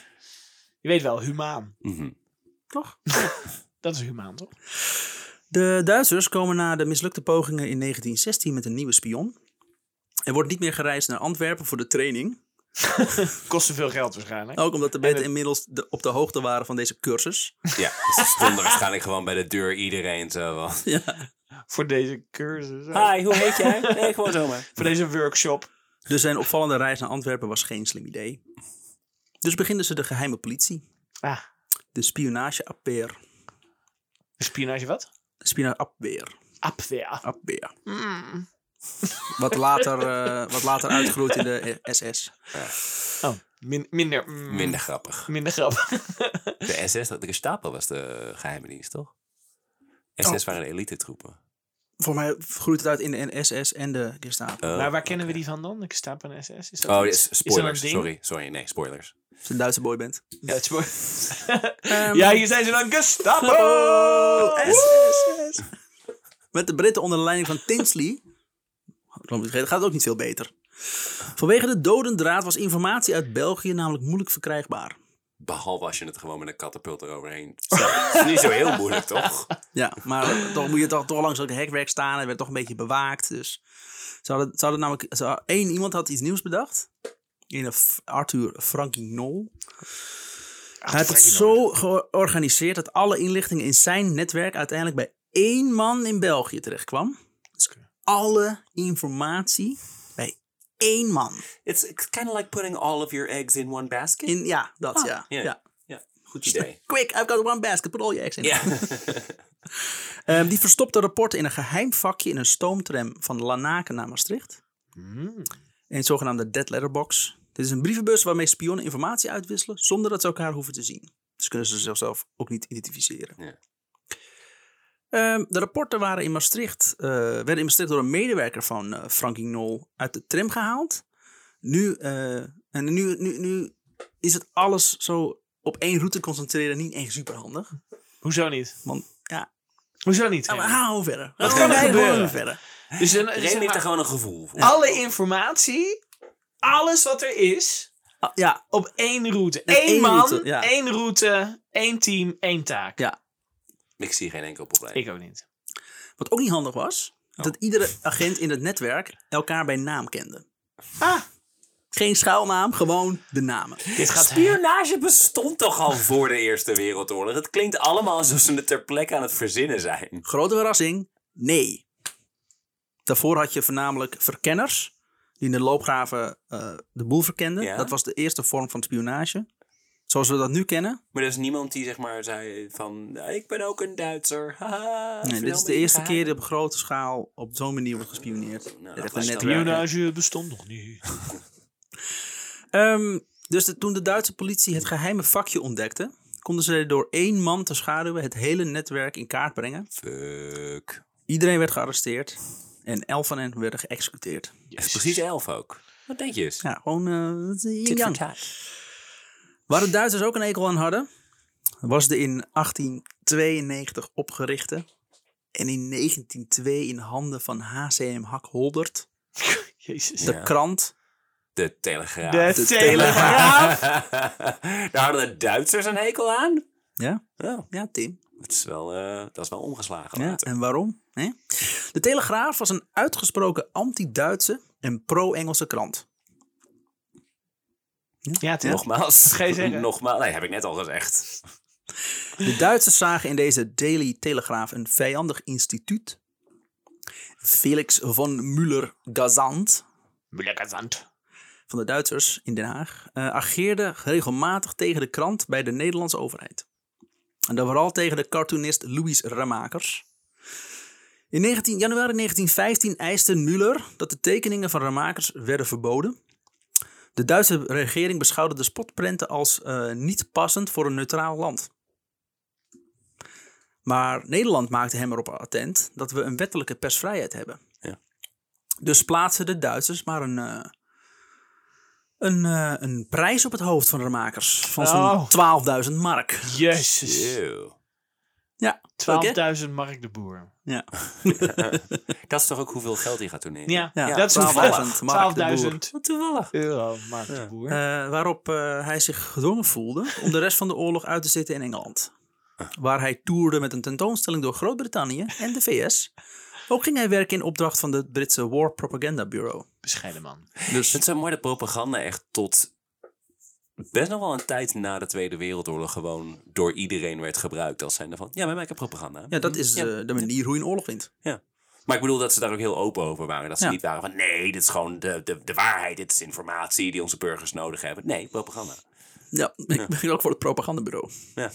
S3: Je weet wel, humaan.
S4: Mhm.
S1: Toch?
S3: Dat is humaan, toch?
S1: De Duitsers komen na de mislukte pogingen in 1916 met een nieuwe spion. Er wordt niet meer gereisd naar Antwerpen voor de training.
S3: Kost te veel geld waarschijnlijk.
S1: Ook omdat de Britten inmiddels de- op de hoogte waren van deze cursus.
S4: Ja, dus ze stonden waarschijnlijk gewoon bij de deur iedereen zo. van,
S3: Voor deze cursus.
S4: Hi, hoe heet jij? Nee, gewoon zomaar.
S3: Voor deze workshop.
S1: Dus zijn opvallende reis naar Antwerpen was geen slim idee. Dus beginnen ze de geheime politie.
S3: Ah,
S1: De spionage-appeer.
S3: spionage wat?
S1: Spionage-appeer.
S3: Abwehr.
S1: Appeer.
S3: Mm.
S1: Wat later, eh, wat later uitgroeit in de SS.
S3: Oh, min- minder. mm,
S4: Minder grappig.
S3: Minder grappig.
S4: De SS, de Gestapo was de geheime dienst, toch? SS waren de elite troepen.
S1: Voor mij groeit het uit in de SS en de Gestapo.
S4: Oh,
S3: maar waar kennen we die van dan? Ik sta op een SS. Is dat
S4: Oh,
S3: iets?
S4: dit is spoilers.
S3: ding?
S4: sorry, sorry. Nee, spoilers.
S1: Als je een Duitse boy bent.
S3: Ja, het is mooi. ja, hier zijn ze dan Gestapo! SS!
S1: Met de Britten onder de leiding van Tinsley. Waarom gaat het ook niet veel beter. Vanwege de dodendraad was informatie uit België namelijk moeilijk verkrijgbaar.
S4: Behalve als je het gewoon met een katapult eroverheen. Dat is niet zo heel moeilijk, toch?
S1: Ja, maar toch moet je toch, toch langs het hekwerk staan. en werd toch een beetje bewaakt. Dus ze hadden, ze hadden namelijk... Ze, hadden- één iemand had iets nieuws bedacht. In een eh, F- Arthur Frankie Nol. Hij had het zo georganiseerd dat alle inlichtingen in zijn netwerk uiteindelijk bij één man in België terechtkwam. Dus alle informatie bij één man.
S4: It's kind of like putting all of your eggs in one basket.
S1: In, ja, dat ja.
S4: Ah, ja.
S1: ja.
S4: Ja, goed idee.
S1: Quick, I've got one Oh, basket, put all your eggs in. Dus
S4: Ja.
S1: Ehm, die verstopte rapporten in een geheim vakje in een stoomtram van Lanaken naar Maastricht.
S3: Hmm.
S1: In het zogenaamde dead letterbox. Dit is een brievenbus waarmee spionnen informatie uitwisselen zonder dat ze elkaar hoeven te zien. Dus kunnen ze zichzelf ook niet identificeren.
S4: Ja.
S1: Ehm, de rapporten waren in Maastricht, eh, werden in Maastricht door een medewerker van eh Frankie Nol uit de tram gehaald. Nu, eh, en nu, nu, nu is het alles zo op één route concentreren niet echt superhandig.
S3: Hoezo niet? Ah,
S1: Want ja,
S3: Hoezo niet?
S1: maar
S3: Henry?
S1: ga gewoon verder.
S4: Wat
S1: Ga
S4: kan er
S1: gewoon
S4: gebeuren?
S1: gewoon verder.
S3: Dus dan, dus
S4: Remy
S3: zeg
S4: heeft
S3: maar,
S4: er gewoon een gevoel voor.
S3: alle informatie, alles wat er is,
S1: Ah, ja,
S3: op één route.
S1: Ja,
S3: Eén
S1: één
S3: man,
S1: route, ja.
S3: één route, één team, één taak.
S1: Ja.
S4: Ik zie geen enkel probleem.
S3: Ik ook niet.
S1: wat ook niet handig was,
S4: Oh.
S1: dat iedere agent in het netwerk elkaar bij naam kende.
S3: Ah,
S1: Geen schuilnaam, gewoon de namen.
S3: dit gaat
S4: Spionage bestond toch al voor de Eerste Wereldoorlog? Het klinkt allemaal alsof ze het ter plekke aan het verzinnen zijn.
S1: Grote verrassing, nee. Daarvoor had je voornamelijk verkenners, die in de loopgraven eh, de boel verkenden.
S4: Ja.
S1: Dat was de eerste vorm van spionage. Zoals we dat nu kennen.
S4: Maar er is niemand die zeg maar zei van, ik ben ook een Duitser. Haha,
S1: Nee, dit
S4: vertel
S1: is
S4: me
S1: de
S4: je
S1: eerste keer
S4: geheim.
S1: dat op grote schaal op zo'n manier wordt gespioneerd.
S4: Nou,
S1: Met
S4: dat
S1: echt
S4: was
S1: een
S4: dan
S1: netwerk.
S4: weer-
S3: Spionage bestond nog niet.
S1: Ehm, dus de- toen de Duitse politie het geheime vakje ontdekte, konden ze door één man te schaduwen het hele netwerk in kaart brengen.
S4: Fuck.
S1: Iedereen werd gearresteerd en elf van hen werden geëxecuteerd.
S4: Het is precies elf ook. Wat denk je eens?
S1: Ja, gewoon eh, dat is yin-yang.
S4: Tit for tat.
S1: Waar de Duitsers ook een ekel aan hadden, was de in 1892 opgerichte en in 1902 in handen van HCM Hak Holdert,
S3: Jezus.
S1: de
S4: Ja.
S1: krant.
S4: De Telegraaf.
S3: De Telegraaf.
S4: Daar hadden de Duitsers een hekel aan.
S1: Ja,
S4: Nou,
S1: ja Tim.
S4: dat is wel, eh, dat is wel omgeslagen
S1: Ja,
S3: eh,
S4: later.
S1: en waarom? Hè? De Telegraaf was een uitgesproken anti-Duitse en pro-Engelse krant.
S3: Ja, toch?
S4: Nogmaals.
S3: ga je zeggen.
S4: Nogmaals. Nee, heb ik net al gezegd.
S1: De Duitsers zagen in deze Daily Telegraaf een vijandig instituut. Felix von Müller-Gazant
S3: Lekker zand.
S1: van de Duitsers in Den Haag eh, ageerde regelmatig tegen de krant bij de Nederlandse overheid. En dan vooral tegen de cartoonist Louis Ramakers. In 19 januari 1915 eiste Müller dat de tekeningen van Ramakers werden verboden. De Duitse regering beschouwde de spotprenten als eh, niet passend voor een neutraal land. Maar Nederland maakte hem erop attent dat we een wettelijke persvrijheid hebben.
S4: Ja.
S1: Dus plaatsen de Duitsers maar een, eh, een, eh, een prijs op het hoofd van de makers van
S3: Oh.
S1: zo'n 12.000 mark.
S3: Jezus.
S4: Eeuw.
S1: Ja,
S3: 12.000 Mark de Boer.
S1: Ja.
S4: Dat is toch ook hoeveel geld hij gaat doneren?
S3: Ja,
S1: Ja,
S3: dat is
S1: 12.000 Mark de Boer.
S3: 12.000
S4: Toevallig.
S3: euro Mark de Boer.
S1: Eh, waarop eh, hij zich gedwongen voelde om de rest van de oorlog uit te zitten in Engeland. Waar hij toerde met een tentoonstelling door Groot-Brittannië en de VS. Ook ging hij werken in opdracht van het Britse War Propaganda Bureau.
S3: Bescheiden man.
S1: Dus
S4: Het is zo mooi dat propaganda echt tot best nog wel een tijd na de Tweede Wereldoorlog gewoon door iedereen werd gebruikt. Als zijnde van, ja, wij maken propaganda.
S1: ja, dat is
S4: Ja.
S1: eh, de manier hoe je een oorlog wint.
S4: Maar ik bedoel dat ze daar ook heel open over waren. Dat ze
S1: Ja.
S4: niet waren van, nee, dit is gewoon de, de, de waarheid. Dit is informatie die onze burgers nodig hebben. Nee, propaganda.
S1: Ja, ik begin ook voor het propagandabureau.
S4: Ja.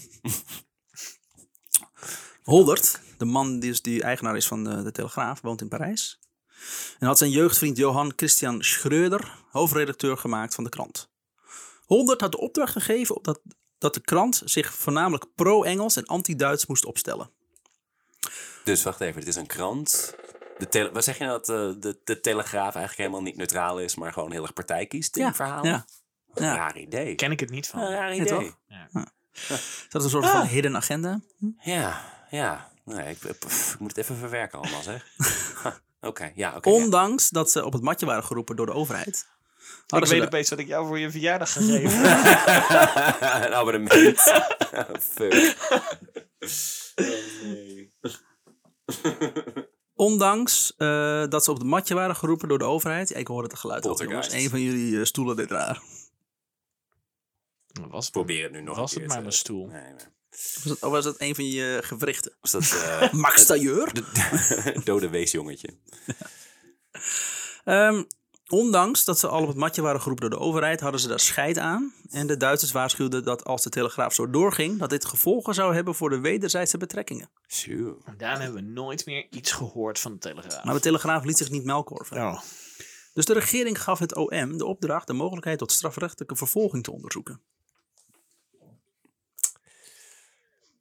S1: Holdert, de man die, is, die eigenaar is van de, de Telegraaf, woont in Parijs. En had zijn jeugdvriend Johan Christian Schreuder hoofdredacteur gemaakt van de krant. Holdert had de opdracht gegeven op dat, dat de krant zich voornamelijk pro-Engels en anti-Duits moest opstellen.
S4: Dus wacht even, het is een krant. De tele- wat zeg je nou dat eh, de, de Telegraaf eigenlijk helemaal niet neutraal is, maar gewoon heel erg partij kiest in verhalen?
S1: Ja. ja.
S4: Raar idee.
S3: Ken ik het niet
S4: Een
S3: van.
S4: raar
S1: Ja,
S4: idee.
S1: toch?
S3: Ja.
S1: Dat is een soort van hidden agenda.
S4: Ja, ja. Nee, ik, pff, ik moet het even verwerken allemaal, zeg. Ha, oké, ja, oké. ja.
S1: Ondanks dat ze op het matje waren geroepen door de overheid.
S3: ik
S1: hadden ze
S3: weet
S1: de-
S3: opeens dat ik jou voor je verjaardag gegeven heb.
S4: een abonnement. Fuck.
S1: Ondanks eh, dat ze op het matje waren geroepen door de overheid. Ja, ik hoorde het geluid al,
S4: Poltergeist.
S1: jongens. Een van jullie eh, stoelen dit raar.
S3: Was het,
S4: Probeer het nu nog
S3: was
S4: een
S3: het
S4: keer
S3: maar
S4: te-
S3: mijn stoel.
S4: Nee, maar...
S1: Was dat, of was dat een van je gewrichten?
S4: Was dat eh,
S1: Max Tailleur?
S4: de dode weesjongetje?
S1: Ehm, ondanks dat ze al op het matje waren geroepen door de overheid, hadden ze daar scheid aan. En de Duitsers waarschuwden dat als de Telegraaf zo doorging, dat dit gevolgen zou hebben voor de wederzijdse betrekkingen.
S4: Zo.
S3: Daarna hebben we nooit meer iets gehoord van de Telegraaf.
S1: Maar de Telegraaf liet zich niet melkorven.
S3: Oh.
S1: Dus de regering gaf het OM de opdracht de mogelijkheid tot strafrechtelijke vervolging te onderzoeken.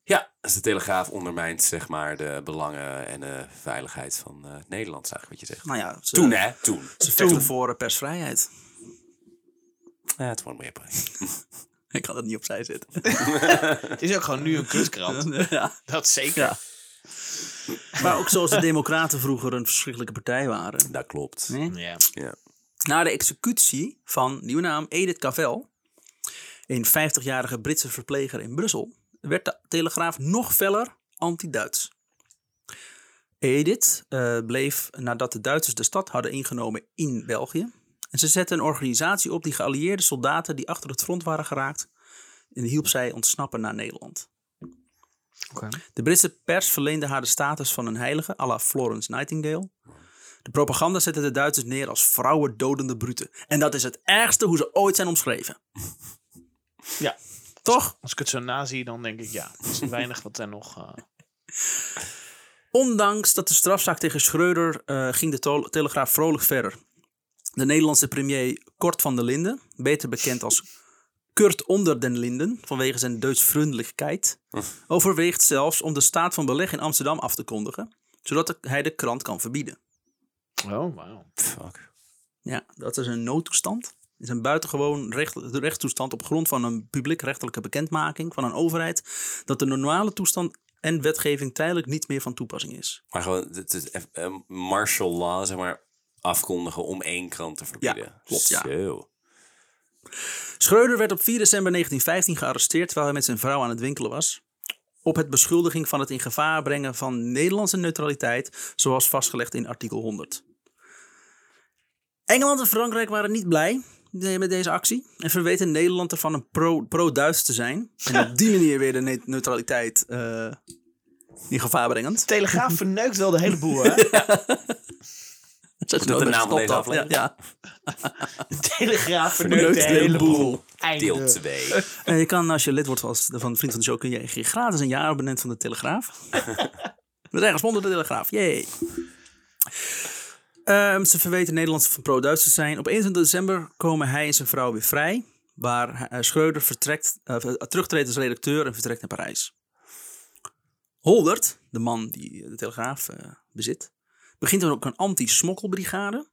S4: Ja, dus de Telegraaf ondermijnt zeg maar de belangen en de veiligheid van eh, Nederland, is eigenlijk wat je zegt.
S1: Nou ja, ze,
S4: Toen hè, toen.
S1: ze vechten voor eh, persvrijheid.
S4: Ja, het wordt meer
S1: Ik had het niet opzij zitten.
S3: Het is ook gewoon nu een kutkrant.
S1: ja.
S3: Dat zeker.
S1: Ja. Maar ook zoals de Democraten vroeger een verschrikkelijke partij waren.
S4: Dat klopt.
S1: Nee?
S3: Ja.
S4: Ja.
S1: Na de executie van nieuwe naam Edith Cavell, een 50-jarige Britse verpleger in Brussel, werd de Telegraaf nog feller anti-Duits. Edith eh, bleef nadat de Duitsers de stad hadden ingenomen in België. En ze zette een organisatie op die geallieerde soldaten die achter het front waren geraakt. En hielp zij ontsnappen naar Nederland. De Britse pers verleende haar de status van een heilige, à la Florence Nightingale. De propaganda zette de Duitsers neer als vrouwendodende bruten. En dat is het ergste hoe ze ooit zijn omschreven.
S3: Ja.
S1: Toch?
S3: Als ik het zo nazie, dan denk ik ja. Er is weinig wat er nog... eh,
S1: Ondanks dat de strafzaak tegen Schreuder eh, ging de tol- Telegraaf vrolijk verder. De Nederlandse premier Kort van der Linden, beter bekend als Kurt onder den Linden vanwege zijn Duitsvriendelijkheid, overweegt zelfs om de staat van beleg in Amsterdam af te kondigen, zodat de- hij de krant kan verbieden.
S3: Oh, wauw.
S4: Fuck.
S1: Ja, dat is een noodtoestand. is een buitengewoon recht, de rechtstoestand op grond van een publiekrechtelijke bekendmaking van een overheid dat de normale toestand en wetgeving tijdelijk niet meer van toepassing is.
S4: Maar gewoon het, het, eff- eh, martial law, zeg maar, afkondigen om één krant te verbieden.
S1: klopt, ja.
S4: Zo.
S1: Schreuder werd op 4 december 1915 gearresteerd terwijl hij met zijn vrouw aan het winkelen was. Op het beschuldiging van het in gevaar brengen van Nederlandse neutraliteit, zoals vastgelegd in artikel 100. Engeland en Frankrijk waren niet blij eh, met deze actie en verweten Nederland ervan een pro- pro-Duits te zijn. En op die manier weer de ne- neutraliteit eh, in gevaar brengend.
S3: Telegraaf verneukt wel de hele boel, hè?
S1: Zet
S4: dat de
S1: nodig,
S4: naam
S1: stop
S4: van deze
S1: dat.
S4: aflevering?
S1: Ja,
S3: Telegraaf verneukt de hele boel.
S4: Deel
S3: Einde.
S4: 2.
S1: ja. En je kan, als je lid wordt van, van Vriend van de Show, kun je gratis een jaar abonnement van de Telegraaf. Dat is ergens onder de Telegraaf. Yay. Ehm, ze verweten Nederlandse van pro-Duits te zijn. Op 21 december komen hij en zijn vrouw weer vrij. Waar eh, Schreuder vertrekt, eh, terugtreedt als redacteur en vertrekt naar Parijs. Holdert, de man die eh, de Telegraaf eh, bezit, begint dan ook een anti-smokkelbrigade.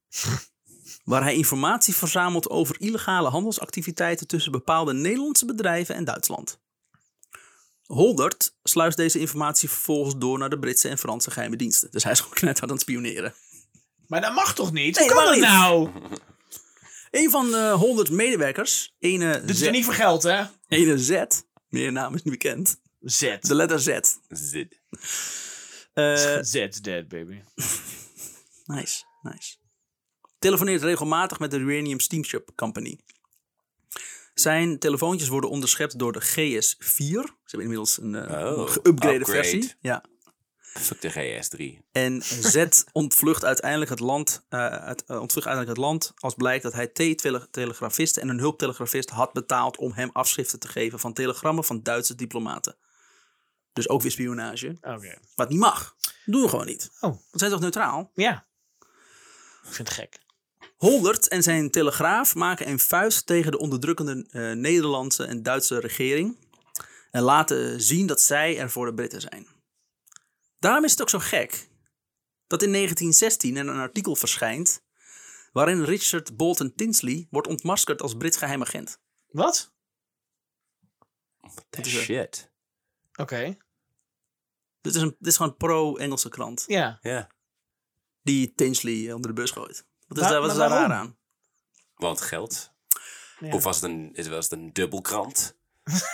S1: waar hij informatie verzamelt over illegale handelsactiviteiten tussen bepaalde Nederlandse bedrijven en Duitsland. Holdert sluist deze informatie vervolgens door naar de Britse en Franse geheime diensten. Dus hij is gewoon net aan het spioneren.
S3: Maar dat mag toch niet?
S1: Nee,
S3: Hoe
S1: dat
S3: kan
S1: mag
S3: dat
S1: niet.
S3: nou?
S1: Een van de 100 medewerkers, ene
S3: Dit is
S1: Z,
S3: er niet voor geld, hè?
S1: ene Z, meer naam is niet bekend,
S3: Z.
S1: de letter Z.
S4: Zit.
S1: Eh,
S3: Z's dead, baby.
S1: nice, nice. Telefoneert regelmatig met de Uranium Steamship Company. Zijn telefoontjes worden onderschept door de GS4. Ze hebben inmiddels een eh,
S4: Oh,
S1: geüpgrade
S4: upgrade.
S1: versie. Ja.
S4: Fuck de GS3.
S1: En Z ontvlucht uiteindelijk het land, eh, uit- eh, ontvlucht uiteindelijk het land als blijkt dat hij T-telegrafisten en een hulptelegrafist had betaald om hem afschriften te geven van telegrammen van Duitse diplomaten. Dus ook weer spionage.
S3: Oké.
S1: Wat niet mag. Doen we gewoon niet.
S3: Oh.
S1: Want we zijn toch neutraal?
S3: Ja. Ik vind het gek.
S1: Holdert en zijn telegraaf maken een vuist tegen de onderdrukkende eh, Nederlandse en Duitse regering. En laten zien dat zij er voor de Britten zijn. Daarom is het ook zo gek dat in 1916 er een artikel verschijnt. waarin Richard Bolton Tinsley wordt ontmaskerd als Brits geheim agent.
S3: Wat?
S1: Dit is, een-
S4: Shit.
S3: Oké.
S1: dit is, een, dit is gewoon een pro-Engelse krant
S3: Ja.
S4: Ja.
S1: die Tinsley onder de bus gooit. Wat is
S3: Waar-
S1: daar, wat is
S3: maar
S1: daar raar
S3: waarom?
S1: aan?
S4: Want geld.
S3: Ja.
S4: Of was het een, het was een dubbelkrant?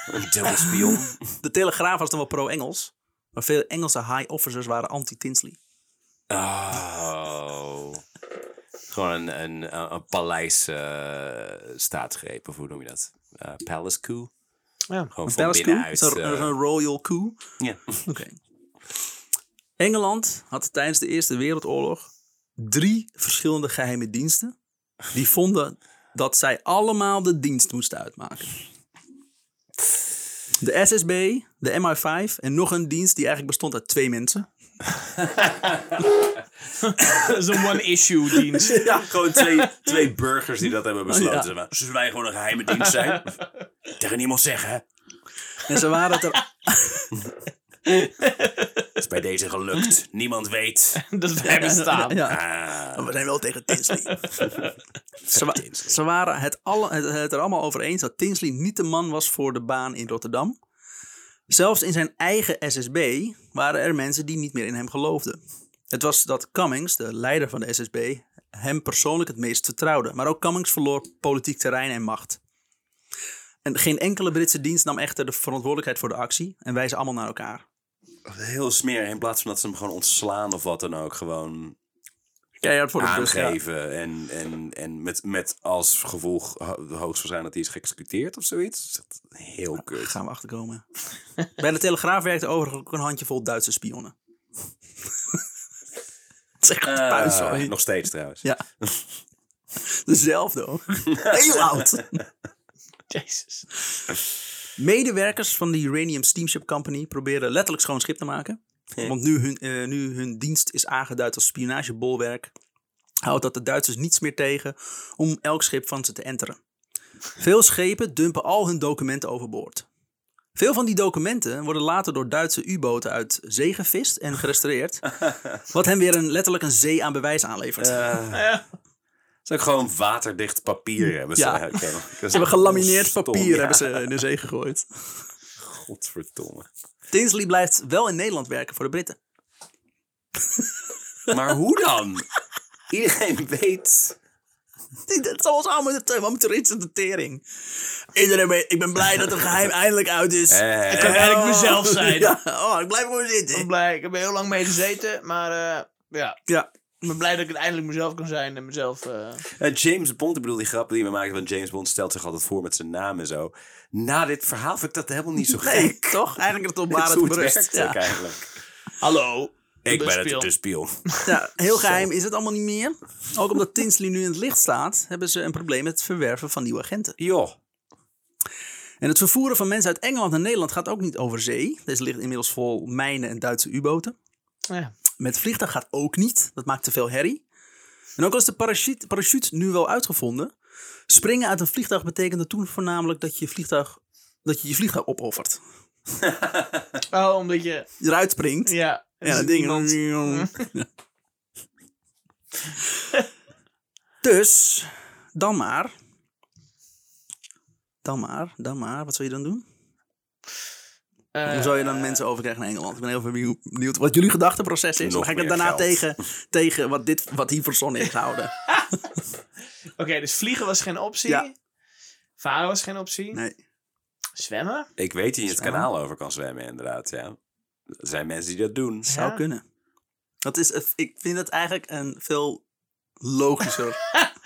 S4: een dubbelspion?
S1: De Telegraaf was dan wel pro-Engels, maar veel Engelse high officers waren anti-Tinsley.
S4: Oh. Gewoon een, een, een, een paleis eh, staatsgreep, of hoe noem je dat? Eh, palace coup?
S3: Ja.
S4: Gewoon
S1: Een
S4: van
S1: palace coup?
S4: binnenuit.
S1: Is dat
S4: eh,
S1: een royal coup?
S4: ja.
S1: Oké. Engeland had tijdens de Eerste Wereldoorlog drie verschillende geheime diensten. Die vonden dat zij allemaal de dienst moesten uitmaken. De SSB, de MI5 en nog een dienst die eigenlijk bestond uit twee mensen.
S3: Dat is een one-issue dienst.
S4: Ja, gewoon twee, twee burgers die dat hebben besloten.
S1: Oh, Ja.
S4: Zeg maar, Zullen wij gewoon een geheime dienst zijn? Tegen niemand zeggen, hè?
S1: En ze waren het er
S4: Is bij deze gelukt. Niemand weet.
S3: Dat wij bestaan.
S1: Ja.
S4: Ah,
S1: Maar we zijn wel tegen Tinsley. ze, wa- ze waren het, alle, het, het er allemaal over eens dat Tinsley niet de man was voor de baan in Rotterdam. Zelfs in zijn eigen SSB waren er mensen die niet meer in hem geloofden. Het was dat Cummings, de leider van de SSB, hem persoonlijk het meest vertrouwde. Maar ook Cummings verloor politiek terrein en macht. En geen enkele Britse dienst nam echter de verantwoordelijkheid voor de actie en wijzen allemaal naar elkaar.
S4: heel smerig. In plaats van dat ze hem gewoon ontslaan of wat dan ook. Gewoon
S1: Keihard voor dus,
S4: aangeven. En, en, en met, met als gevolg ho- hoogstwaarschijnlijk dat hij is geëxecuteerd of zoiets. Dat is echt
S1: Ah,
S4: heel kut.
S1: Gaan we achterkomen. Bij de Telegraaf werkte overigens ook een handjevol Duitse spionnen. Het is echt
S4: Eh,
S1: puin, Ah, sorry.
S4: nog steeds trouwens.
S1: Ja. Dezelfde ook. Heel oud.
S3: Jezus.
S1: Medewerkers van de Uranium Steamship Company proberen letterlijk schoon schip te maken. Want nu hun, eh, nu hun dienst is aangeduid als spionagebolwerk, houdt dat de Duitsers niets meer tegen om elk schip van ze te enteren. Veel schepen dumpen al hun documenten overboord. Veel van die documenten worden later door Duitse U-boten uit zee gevist en gerestaureerd. Wat hen weer een, letterlijk een zee aan bewijs aanlevert.
S4: Eh,
S3: Nou Ja.
S4: Zou ik gewoon waterdicht papier hebben ze.
S1: Ja.
S4: Ja, oké, maar-
S1: Ze hebben gelamineerd
S4: Oh, Stom,
S1: papier
S4: ja.
S1: hebben ze in de zee gegooid.
S4: Godverdomme.
S1: Tinsley blijft wel in Nederland werken voor de Britten.
S4: Maar hoe dan? Iedereen weet.
S1: Die- Dat zal ons allemaal de tuin, de iets aan de tering. Iedereen weet, ik ben blij dat het geheim eindelijk uit is.
S4: Eh,
S3: kan eigenlijk mezelf zijn.
S1: Ja, oh, ik blijf gewoon
S3: Ik ben
S1: zitten.
S3: blij, ik heb er heel lang mee gezeten, maar eh, ja.
S1: Ja.
S3: Ik ben blij dat ik uiteindelijk mezelf kan zijn en mezelf... eh,
S4: eh, James Bond, ik bedoel die grappen die we maken van James Bond, stelt zich altijd voor met zijn naam en zo. Na dit verhaal vind ik dat helemaal niet zo
S1: Nee,
S4: gek.
S1: toch? Eigenlijk dat op
S4: Dit is hoe
S1: waarheid
S4: het
S1: berust.
S4: werkt ook
S1: Ja.
S4: eigenlijk.
S3: Hallo.
S4: Ik ben
S3: spion.
S4: het de spion.
S1: Ja, heel geheim is het allemaal niet meer. Ook omdat Tinsley nu in het licht staat, hebben ze een probleem met het verwerven van nieuwe agenten.
S4: Joh.
S1: En het vervoeren van mensen uit Engeland naar Nederland gaat ook niet over zee. Deze ligt inmiddels vol mijnen en Duitse U-boten.
S3: Ja.
S1: Met vliegtuig gaat ook niet. Dat maakt te veel herrie. En ook al is de parachute, parachute nu wel uitgevonden. Springen uit een vliegtuig betekende toen voornamelijk dat je vliegtuig, dat je, je vliegtuig opoffert.
S3: Oh, omdat je...
S1: Je eruit springt. Ja,
S3: Ja, er
S1: dat
S3: zit
S1: ding.
S3: iemand-
S1: Ja. dus, dan maar. Dan maar, dan maar. Wat zou je dan doen?
S3: eh,
S1: Hoe zou je dan mensen overkrijgen naar Engeland? Ik ben heel benieuw- benieuwd wat jullie gedachteproces is.
S4: Nog
S1: Dan ga ik het
S4: meer
S1: daarna
S4: geld.
S1: tegen, tegen wat, dit, wat hier verzonnen is houden.
S3: Oké, dus vliegen was geen optie.
S1: Ja.
S3: Varen was geen optie.
S1: Nee.
S3: Zwemmen?
S4: Ik weet dat je het
S1: Zwemmen?
S4: kanaal over kan zwemmen, inderdaad. Ja. Er zijn mensen die dat doen.
S1: Zou
S3: Ja.
S1: kunnen. Dat is, ik vind het eigenlijk een veel logischer.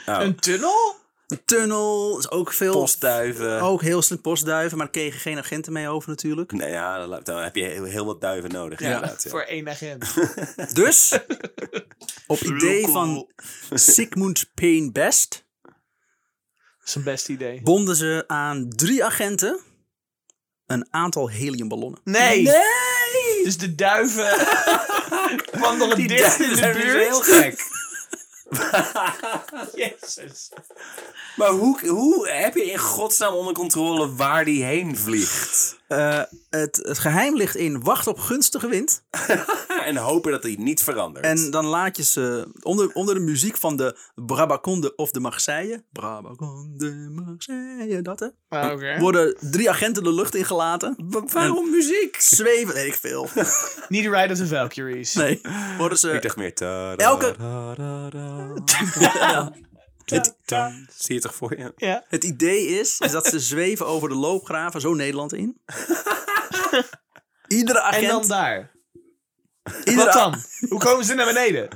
S4: Oh,
S3: Een tunnel?
S1: een tunnel is ook veel.
S4: postduiven.
S1: Ook heel snel postduiven, maar daar kregen geen agenten mee over natuurlijk.
S4: Nou ja, dan, dan heb je heel, heel wat duiven nodig.
S1: Ja.
S4: inderdaad, ja.
S3: Voor één agent.
S1: Dus, op idee van Sigmund Payne Best,
S3: Dat is een best idee.
S1: bonden ze aan drie agenten een aantal heliumballonnen.
S3: Nee! Dus de duiven wandelen dicht in de
S4: zijn dus heel
S3: buurt.
S4: gek.
S3: Jezus.
S4: Maar hoe, hoe heb je in godsnaam onder controle waar die heen vliegt?
S1: Eh, het, het geheim ligt in wacht op gunstige wind.
S4: en hopen dat hij niet verandert.
S1: En dan laat je ze onder, onder de muziek van de Brabaconde of de Marseille. Brabaconde, Marseille, dat hè.
S3: Ah, Oké.
S1: Worden drie agenten de lucht ingelaten.
S4: Wa- waarom muziek?
S1: Zweven, weet ik veel.
S3: Niet de Ride of the Valkyries.
S1: Nee, worden
S4: Ik
S1: ze...
S4: dacht meer... ta-
S1: Elke-
S4: ta- ta- ta-
S1: Ja.
S4: Dit- dan Zie je het toch voor je?
S3: Ja.
S1: Het idee is, is dat ze zweven over de loopgraven, zo Nederland in. Iedere agent...
S3: En dan daar.
S1: iedere-
S3: Wat dan? Hoe komen ze naar beneden?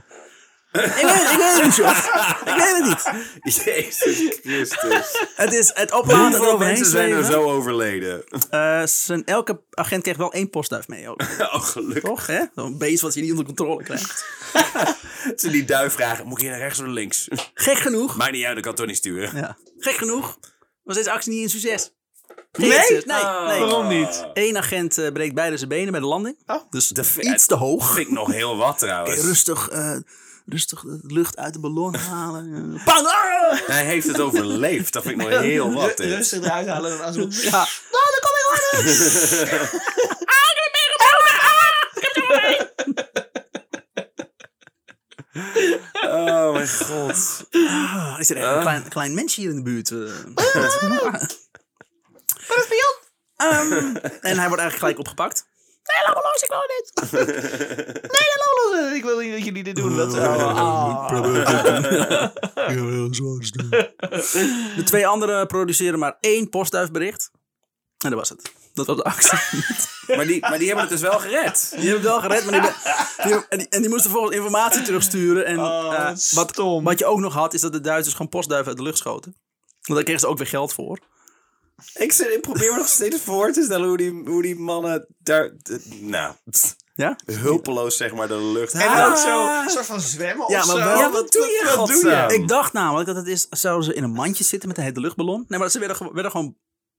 S1: Ik weet, ik weet het niet, Jos. Ik weet het niet.
S4: Jezus Christus.
S1: Het is het opladen
S4: Hoeveel
S1: eroverheen
S4: mensen zijn er
S1: zweven.
S4: zo overleden?
S1: Eh, zijn, elke agent krijgt wel één postduif mee ook.
S4: oh, gelukkig.
S1: Toch, hè? Zo'n beest wat je niet onder controle krijgt.
S4: Ze die duif vragen, moet ik hier naar rechts of naar links?
S1: Gek genoeg.
S4: Maakt niet uit, ik kan het toch niet sturen.
S1: Ja. Gek genoeg was deze actie niet een succes. Geen
S3: Nee?
S1: succes. Nee,
S4: Ah.
S1: nee.
S3: Oh. Waarom niet?
S1: Eén agent eh, breekt beide zijn benen bij de landing.
S3: Oh.
S1: Dus
S4: De v-
S1: iets te hoog.
S4: Vind ik nog heel wat trouwens.
S1: rustig, eh, rustig de lucht uit de ballon halen. Eh, Bang! Ah!
S4: Hij heeft het overleefd. Dat vind ik nog heel wat.
S3: Ru-
S4: hè.
S3: Rustig eruit halen. en dan zo-
S1: Ja.
S4: Oh mijn god.
S1: Ah, is er echt een klein, klein mensje hier in de buurt? eh.
S3: Ah.
S1: Ehm, en hij wordt eigenlijk gelijk opgepakt.
S3: Nee, laat me los, ik wil dit. Nee, laat me los. Ik wil niet dat jullie dit doen. Dat, oh, oh.
S1: De twee anderen produceren maar één postduifbericht. En dat was het. Dat was de actie.
S4: Maar die, maar die hebben het dus wel gered.
S1: Die hebben het wel gered, maar die, die- en, die, en die moesten vervolgens informatie terugsturen. En
S3: Oh,
S1: eh,
S3: wat
S1: wat,
S3: stom.
S1: wat je ook nog had, is dat de Duitsers gewoon postduiven uit de lucht schoten. Want daar kregen ze ook weer geld voor.
S4: Ik, zit- ik probeer me nog steeds voor te stellen hoe die, hoe die mannen daar... d- nou, pst,
S1: Ja?
S4: hulpeloos zeg maar de lucht.
S3: En
S4: Ah,
S3: ook zo een soort van zwemmen
S1: Ja,
S3: of
S1: maar
S3: zo.
S1: wel-
S4: ja, wat doe je,
S3: Wat doe je?
S4: godsnaam?
S1: Ik dacht namelijk dat het is, zouden ze in een mandje zitten met een hete luchtballon. Nee, maar ze werden, ge- werden gewoon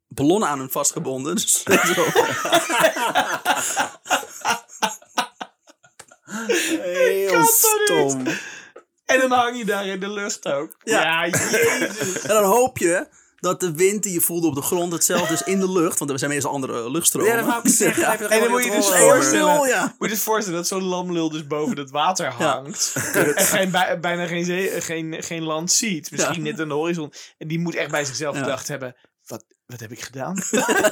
S1: ballonnen aan hun vastgebonden. Dus zo.
S4: Heel stom.
S3: En dan hang je daar in de lucht ook.
S1: Ja.
S3: Ja, jezus.
S1: En dan hoop je dat de wind die je voelde op de grond hetzelfde is in de lucht. Want er zijn meestal andere eh, luchtstromen.
S4: Ja, dat wou ik zeggen. Hij heeft het
S3: En dan
S4: gewoon
S3: moet je
S4: in het
S3: dus
S4: rollen.
S3: voorstellen,
S1: Oorlel, ja.
S3: moet je dus voorstellen dat zo'n lamlul dus boven het water hangt. En geen, bij- bijna geen, zee, geen, geen land ziet. Misschien net aan de horizon. En die moet echt bij zichzelf
S1: Ja.
S3: gedacht hebben, wat, wat heb ik gedaan?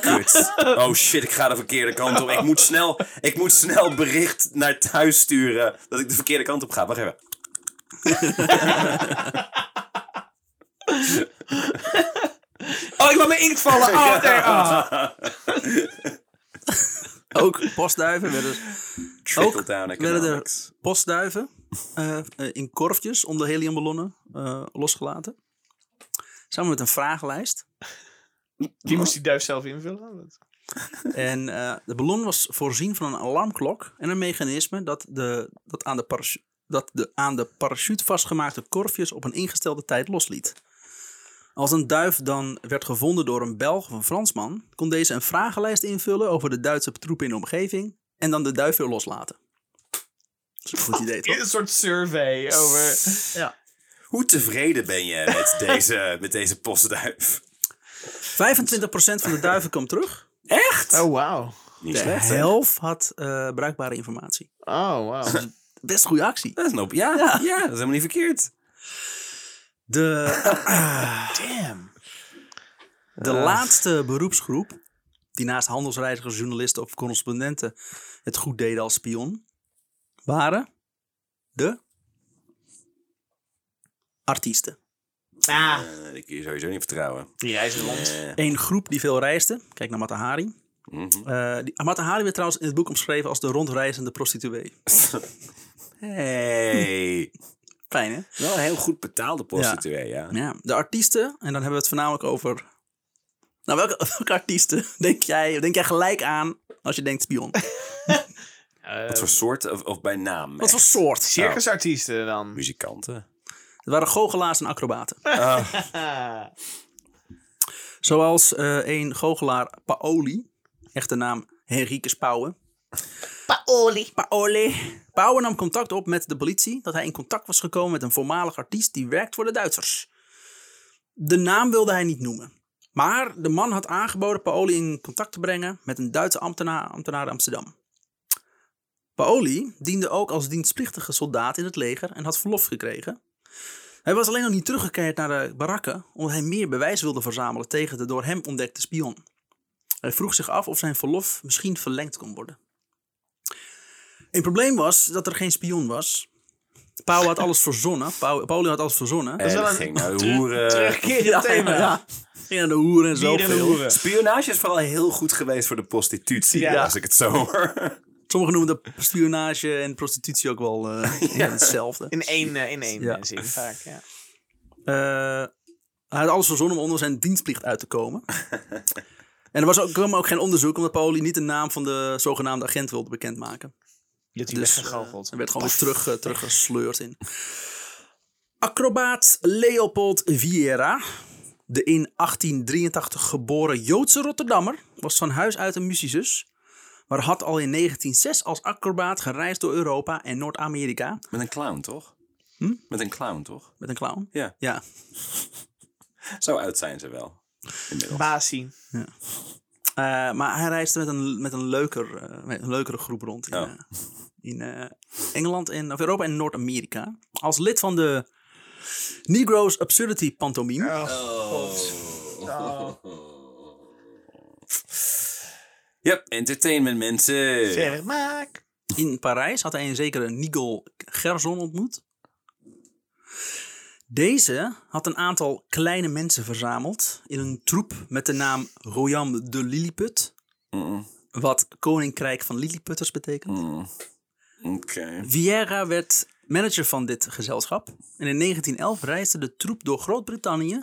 S4: Kut. Oh shit, ik ga de verkeerde kant op. Ik moet snel, ik moet snel bericht naar thuis sturen dat ik de verkeerde kant op ga. Wacht even.
S3: Oh, ik laat mijn inkt vallen. Oh, nee. ah.
S1: Ook postduiven werden,
S4: Trickle
S1: Ook
S4: down
S1: werden er
S4: economics.
S1: postduiven eh, eh, in korfjes onder heliumballonnen eh, losgelaten. Samen met een vragenlijst.
S3: Die moest die duif zelf invullen. Wat-
S1: En eh, de ballon was voorzien van een alarmklok en een mechanisme dat, de, dat, aan, de parachu- dat de aan de parachute vastgemaakte korfjes op een ingestelde tijd losliet. Als een duif dan werd gevonden door een Belg of een Fransman, kon deze een vragenlijst invullen over de Duitse troepen in de omgeving en dan de duif weer loslaten. Dat is een goed idee, toch?
S3: Een soort survey over... Ja.
S4: Hoe tevreden ben je met deze, met deze postduif?
S1: 25% van de duiven kwam terug.
S4: Echt?
S3: Oh, wauw.
S4: Niet
S1: De
S4: slecht, hè?
S1: helft had eh, bruikbare informatie.
S3: Oh, wauw.
S1: Best goede actie.
S4: Dat is een hoop- ja, ja. dat is helemaal niet verkeerd.
S1: De
S3: Damn.
S1: De laatste beroepsgroep, die naast handelsreizigers, journalisten of correspondenten het goed deden als spion, waren de artiesten.
S3: Ah.
S4: Eh, die kun je sowieso niet vertrouwen.
S3: Die reizen rond.
S4: Eh,
S1: Eén groep die veel reisde, kijk naar Matahari.
S4: mhm.
S1: Eh die, Matahari werd trouwens in het boek omschreven als de rondreizende prostituee.
S4: Hey.
S1: Fijn hè?
S4: Wel een heel goed betaalde prostituee, ja.
S1: Ja, de artiesten, en dan hebben we het voornamelijk over... Nou, welke, welke artiesten denk jij, denk jij gelijk aan als je denkt spion?
S3: Oh.
S4: Wat voor soort of, of bij naam?
S1: Wat voor
S4: Echt?
S1: soort?
S3: Circusartiesten dan.
S4: Muzikanten.
S1: Het waren goochelaars en acrobaten.
S3: Ah.
S1: Zoals eh een goochelaar Paoli, echte naam Henrique Pauwen. Paoli. Paoli. Pauwen nam contact op met de politie dat hij in contact was gekomen met een voormalig artiest die werkt voor de Duitsers. De naam wilde hij niet noemen. Maar de man had aangeboden Paoli in contact te brengen met een Duitse ambtenaar, ambtenaar in Amsterdam. Paoli diende ook als dienstplichtige soldaat in het leger en had verlof gekregen. Hij was alleen nog niet teruggekeerd naar de barakken omdat hij meer bewijs wilde verzamelen tegen de door hem ontdekte spion. Hij vroeg zich af of zijn verlof misschien verlengd kon worden. Een probleem was dat er geen spion was. Pauw had alles verzonnen. Pauw- Pauli had alles verzonnen.
S4: En
S3: wel een
S4: ging Eh, naar de hoeren.
S3: Eh, Terugkerend thema.
S1: ja. Ging naar de hoeren en zo.
S3: Dieren en
S1: veel.
S3: hoeren.
S4: Spionage is vooral heel goed geweest voor de prostitutie,
S3: Ja.
S4: als ik het zo hoor.
S1: Sommigen noemen de spionage en prostitutie ook wel eh, hetzelfde.
S3: In één, eh, in één
S1: Ja.
S3: eh, zin vaak, ja.
S1: Eh, hij had alles verzonnen om onder zijn dienstplicht uit te komen. en er was ook, kwam ook geen onderzoek, omdat Pauli niet de naam van de zogenaamde agent wilde bekendmaken.
S3: Je hebt die
S1: Dus,
S3: weggegoocheld.
S1: Hij werd gewoon weer terug, eh, teruggesleurd in. Acrobaat Leopold Vieira, de in 1883 geboren Joodse Rotterdammer, was van huis uit een muzikus. Maar had al in 1906 als acrobaat gereisd door Europa en Noord-Amerika
S4: Met een clown, toch? Met een clown, toch?
S1: met een clown.
S4: Ja.
S1: Ja,
S4: Zo oud zijn ze wel. Inmiddels.
S3: Basie.
S1: Eh, maar hij reisde met een, met een, leuker, eh, met een leukere groep rond in,
S4: Oh.
S1: eh, in eh, Engeland, en, of Europa en Noord-Amerika. Als lid van de Negro's Absurdity Pantomime.
S3: Oh.
S4: Yep, entertainment mensen.
S3: Zeg, maak.
S1: In Parijs had hij een zekere Nigel Gerson ontmoet. Deze had een aantal kleine mensen verzameld in een troep met de naam Royam de Lilliput.
S4: Mm,
S1: Wat Koninkrijk van Lilliputters betekent.
S4: mm. Oké.
S1: Vieira werd manager van dit gezelschap. En in 1911 reisde de troep door Groot-Brittannië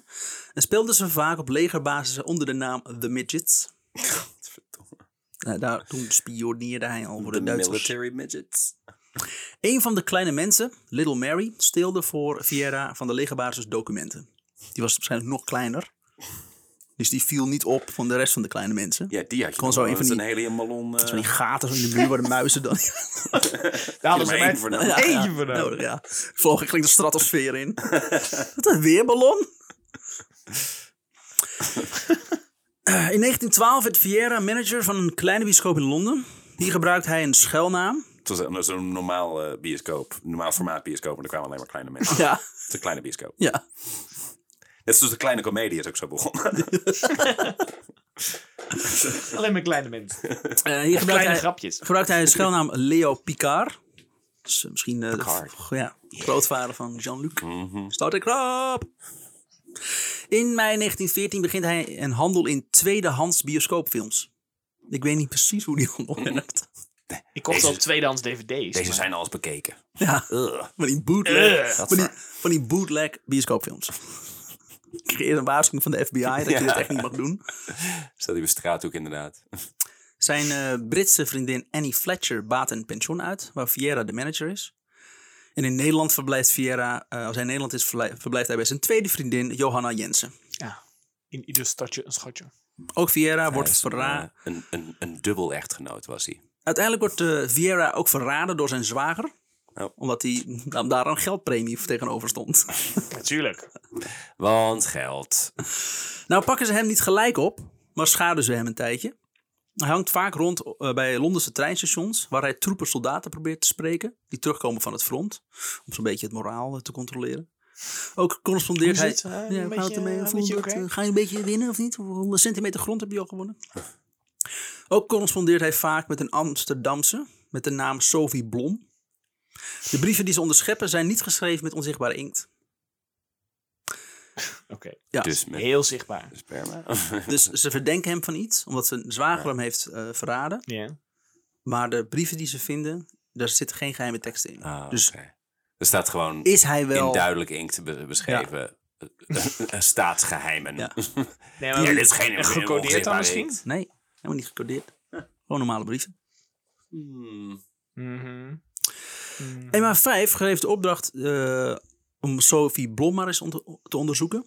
S1: en speelden ze vaak op legerbasissen onder de naam The Midgets.
S4: Verdomme.
S1: Nou, daar, toen spioneerde hij al voor de,
S4: De
S1: Duitsers.
S4: military midgets.
S1: Een van de kleine mensen, Little Mary, steelde voor Vieira van de legerbasis documenten. Die was waarschijnlijk nog kleiner. Dus die viel niet op van de rest van de kleine mensen.
S4: Ja, die had je
S1: Kon zo
S4: nog
S1: een
S4: wel.
S1: van
S4: Dat is
S1: die-
S4: een hele malon. eh
S1: Van die gaten zo in de muur waar de muizen dan...
S3: Daar hadden
S4: maar
S3: ze
S4: één
S3: mij
S4: voor
S3: voor
S4: nodig.
S3: eentje voor nodig.
S1: nodig, Nou, ja. Vloog ik de stratosfeer in. Wat een weerballon. Eh, In 1912 werd Vieira manager van een kleine bioscoop in Londen. Hier gebruikt hij een schuilnaam.
S4: Het was een- zo'n normaal eh, bioscoop, normaal formaat bioscoop, en er kwamen alleen maar kleine mensen.
S1: Ja,
S4: Het is een kleine bioscoop.
S1: ja.
S4: Net zoals de kleine komedie is ook zo begonnen.
S3: Alleen maar kleine mensen.
S1: Eh, hier gebruikt
S3: Kleine
S1: hij,
S3: grapjes.
S1: gebruikt hij de schuilnaam Leo Picard. Dus eh, misschien eh, de
S4: Picard. Mhm.
S1: v- ja, grootvader van Jean-Luc. Start ik krap. In mei 1914 begint hij een handel in tweedehands bioscoopfilms. Ik weet niet precies hoe die handel werkt.
S3: Ik kocht
S4: Deze-
S3: al tweedehands dvd's.
S4: Deze
S3: maar-
S4: zijn al eens bekeken.
S1: Ja.
S4: Ugh.
S1: Van die bootleg,
S3: Ugh.
S1: van die, van die bootleg bioscoopfilms. Ik kreeg eerst een waarschuwing van de FBI dat je dit echt niet mag doen.
S4: Staat hier op straathoek inderdaad.
S1: Zijn eh, Britse vriendin Annie Fletcher baat een pensioen uit, waar Vieira de manager is. En in Nederland verblijft Vieira, eh, als hij in Nederland is, verblij- verblijft hij bij zijn tweede vriendin Johanna Jensen.
S3: Ja. In ieder stadje een schatje.
S1: Ook Vieira
S4: Hij
S1: wordt
S4: is een,
S1: verraden.
S4: eh, Een, een, een dubbel echtgenoot was hij.
S1: Uiteindelijk wordt eh, Vieira ook verraden door zijn zwager,
S4: Oh.
S1: omdat hij daar- daar een geldpremie voor tegenover stond.
S3: Natuurlijk.
S4: Want geld.
S1: Nou pakken ze hem niet gelijk op, maar schaden ze hem een tijdje. Hij hangt vaak rond eh, bij Londense treinstations, waar hij troepen soldaten probeert te spreken, die terugkomen van het front, om zo'n beetje het moraal eh, te controleren. Ook correspondeert
S3: Hoe
S1: hij...
S3: is het? Eh, een
S1: ja, hoe
S3: beetje,
S1: houdt het ermee?
S3: eh,
S1: Of
S3: een beetje
S1: dat, eh,
S3: oké?
S1: Ga je een beetje winnen of niet? Hoeveel centimeter grond heb je al gewonnen? Ook correspondeert hij vaak met een Amsterdamse, met de naam Sophie Blom. De brieven die ze onderscheppen zijn niet geschreven met onzichtbare inkt.
S3: Oké.
S1: Ja.
S4: Dus met
S3: Heel zichtbaar.
S4: sperma.
S1: Dus ze verdenken hem van iets, omdat zijn zwager hem heeft eh, verraden.
S3: Ja.
S1: Maar de brieven die ze vinden, daar zitten geen geheime teksten in.
S4: Ah,
S1: dus
S4: oké. Er staat gewoon
S1: is hij wel...
S4: in duidelijk inkt be- beschreven. eh, staatsgeheimen.
S1: Ja.
S3: Nee,
S4: Ja, dit is geen
S3: en gecodeerd dan
S4: onzichtbare
S3: misschien?
S4: inkt.
S1: Nee, helemaal niet gecodeerd. Gewoon normale brieven.
S4: Hmm.
S3: Mhm.
S1: Emma 5 geeft de opdracht eh, om Sophie Blom maar eens ont- te onderzoeken.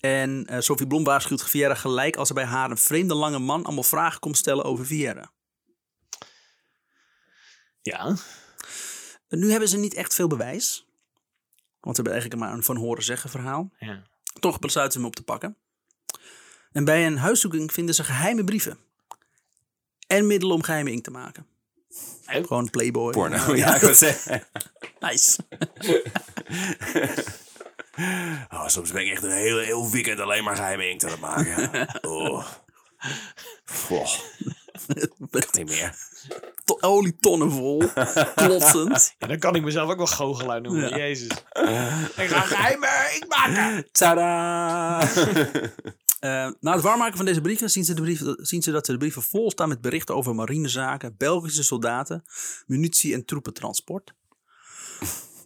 S1: En eh Sophie Blom waarschuwt Vieira gelijk als er bij haar een vreemde lange man allemaal vragen komt stellen over Vieira.
S3: Ja.
S1: En Nu hebben ze niet echt veel bewijs. Want ze hebben eigenlijk maar een van horen zeggen verhaal.
S3: Ja.
S1: Toch besluiten ze hem op te pakken. En bij een huiszoeking vinden ze geheime brieven. En middelen om geheime ink te maken.
S3: Oh.
S1: Gewoon Playboy.
S4: Porno, ja, ik wou zeggen.
S1: Nice.
S4: Oh, soms ben ik echt een hele, heel weekend alleen maar geheime inkt aan het maken. Oh. Goh, niet meer.
S1: To- Olietonnen vol. Klotsend.
S3: Ja, dan kan ik mezelf ook wel goochelaar noemen.
S1: Ja.
S3: Jezus. Ik ga geheimen, ik maken.
S4: Tada!
S1: Eh, na het warmmaken van deze brieven zien ze, de brieven zien ze dat de brieven vol staan met berichten over marinezaken, Belgische soldaten, munitie en troepentransport.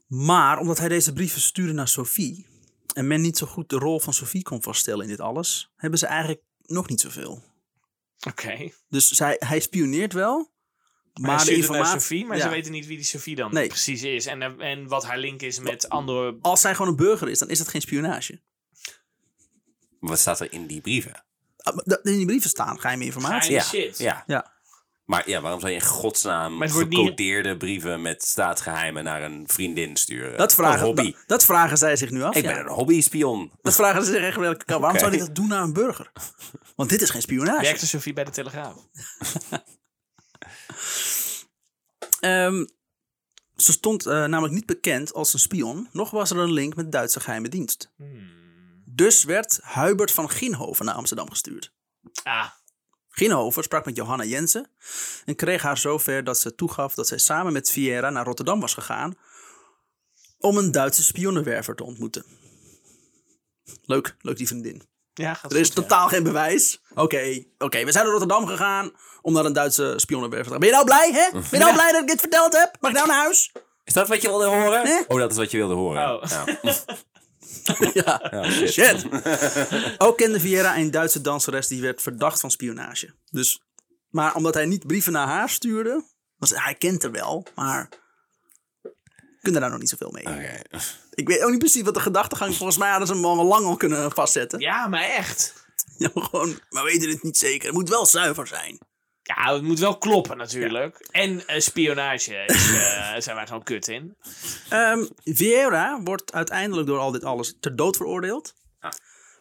S1: Maar omdat hij deze brieven stuurde naar Sophie en men niet zo goed de rol van Sophie kon vaststellen in dit alles, hebben ze eigenlijk nog niet zoveel.
S3: Oké.
S1: Dus zij, hij spioneert wel, maar,
S3: Maar
S1: de
S3: ze informatie...
S1: informatie.
S3: naar Sophie, maar
S1: Ja.
S3: ze weten niet wie die Sophie dan
S1: Nee.
S3: precies is. En, eh, en wat haar link is met andere...
S1: Als zij gewoon een burger is, dan is dat geen spionage.
S4: Wat staat er in die brieven?
S1: Ah, maar dat- In die brieven staan geheime informatie.
S3: Geheime-
S4: Ja,
S3: shit.
S4: ja.
S1: Ja.
S4: Maar ja, waarom zou je in godsnaam
S3: Maar het wordt niet-
S4: gecodeerde brieven met staatsgeheimen naar een vriendin sturen?
S3: Oh,
S1: Dat vragen,
S4: Een hobby.
S1: Dat, dat vragen zij zich nu af.
S4: ik
S1: ja.
S4: ben een hobby-spion.
S1: Dat vragen ze zich echt wel. elke keer. Waarom
S4: Oké.
S1: zou hij dat doen naar een burger? Want dit is geen spionage.
S3: Werkte Sophie bij de Telegraaf?
S1: Ehm, ze stond eh, namelijk niet bekend als een spion, nog was er een link met Duitse geheime dienst.
S3: Hmm.
S1: Dus werd Hubert van Ginhoven naar Amsterdam gestuurd.
S3: Ah,
S1: Ginhoven sprak met Johanna Jensen en kreeg haar zover dat ze toegaf dat zij samen met Vieira naar Rotterdam was gegaan om een Duitse spionnenwerver te ontmoeten. Leuk, leuk die vriendin.
S3: ja, gaat
S1: Er is
S3: goed, ja.
S1: totaal geen bewijs. Oké, oké, we zijn naar Rotterdam gegaan om naar een Duitse spionnenwerf te gaan. Ben je nou blij, hè? Ben je nou blij dat ik dit verteld heb? Mag ik nou naar huis?
S4: Is dat wat je wilde horen?
S1: Nee.
S4: Oh, dat is wat je wilde horen.
S3: Oh.
S4: Ja.
S1: Ja,
S4: Ja, shit.
S1: shit. Ook kende Vieira een Duitse danseres die werd verdacht van spionage. Dus, maar omdat hij niet brieven naar haar stuurde, was, hij kent er wel, maar kunnen daar nog niet zoveel mee.
S4: Oké.
S1: Ik weet ook niet precies wat de gedachtegang. Volgens mij hadden ze hem al lang al kunnen vastzetten.
S3: Ja, maar echt.
S1: Ja, maar gewoon, maar we weten het niet zeker. Het moet wel zuiver zijn.
S3: Ja, het moet wel kloppen natuurlijk. En eh, spionage is, eh, zijn wij gewoon kut in.
S1: Ehm Vieira wordt uiteindelijk door al dit alles ter dood veroordeeld.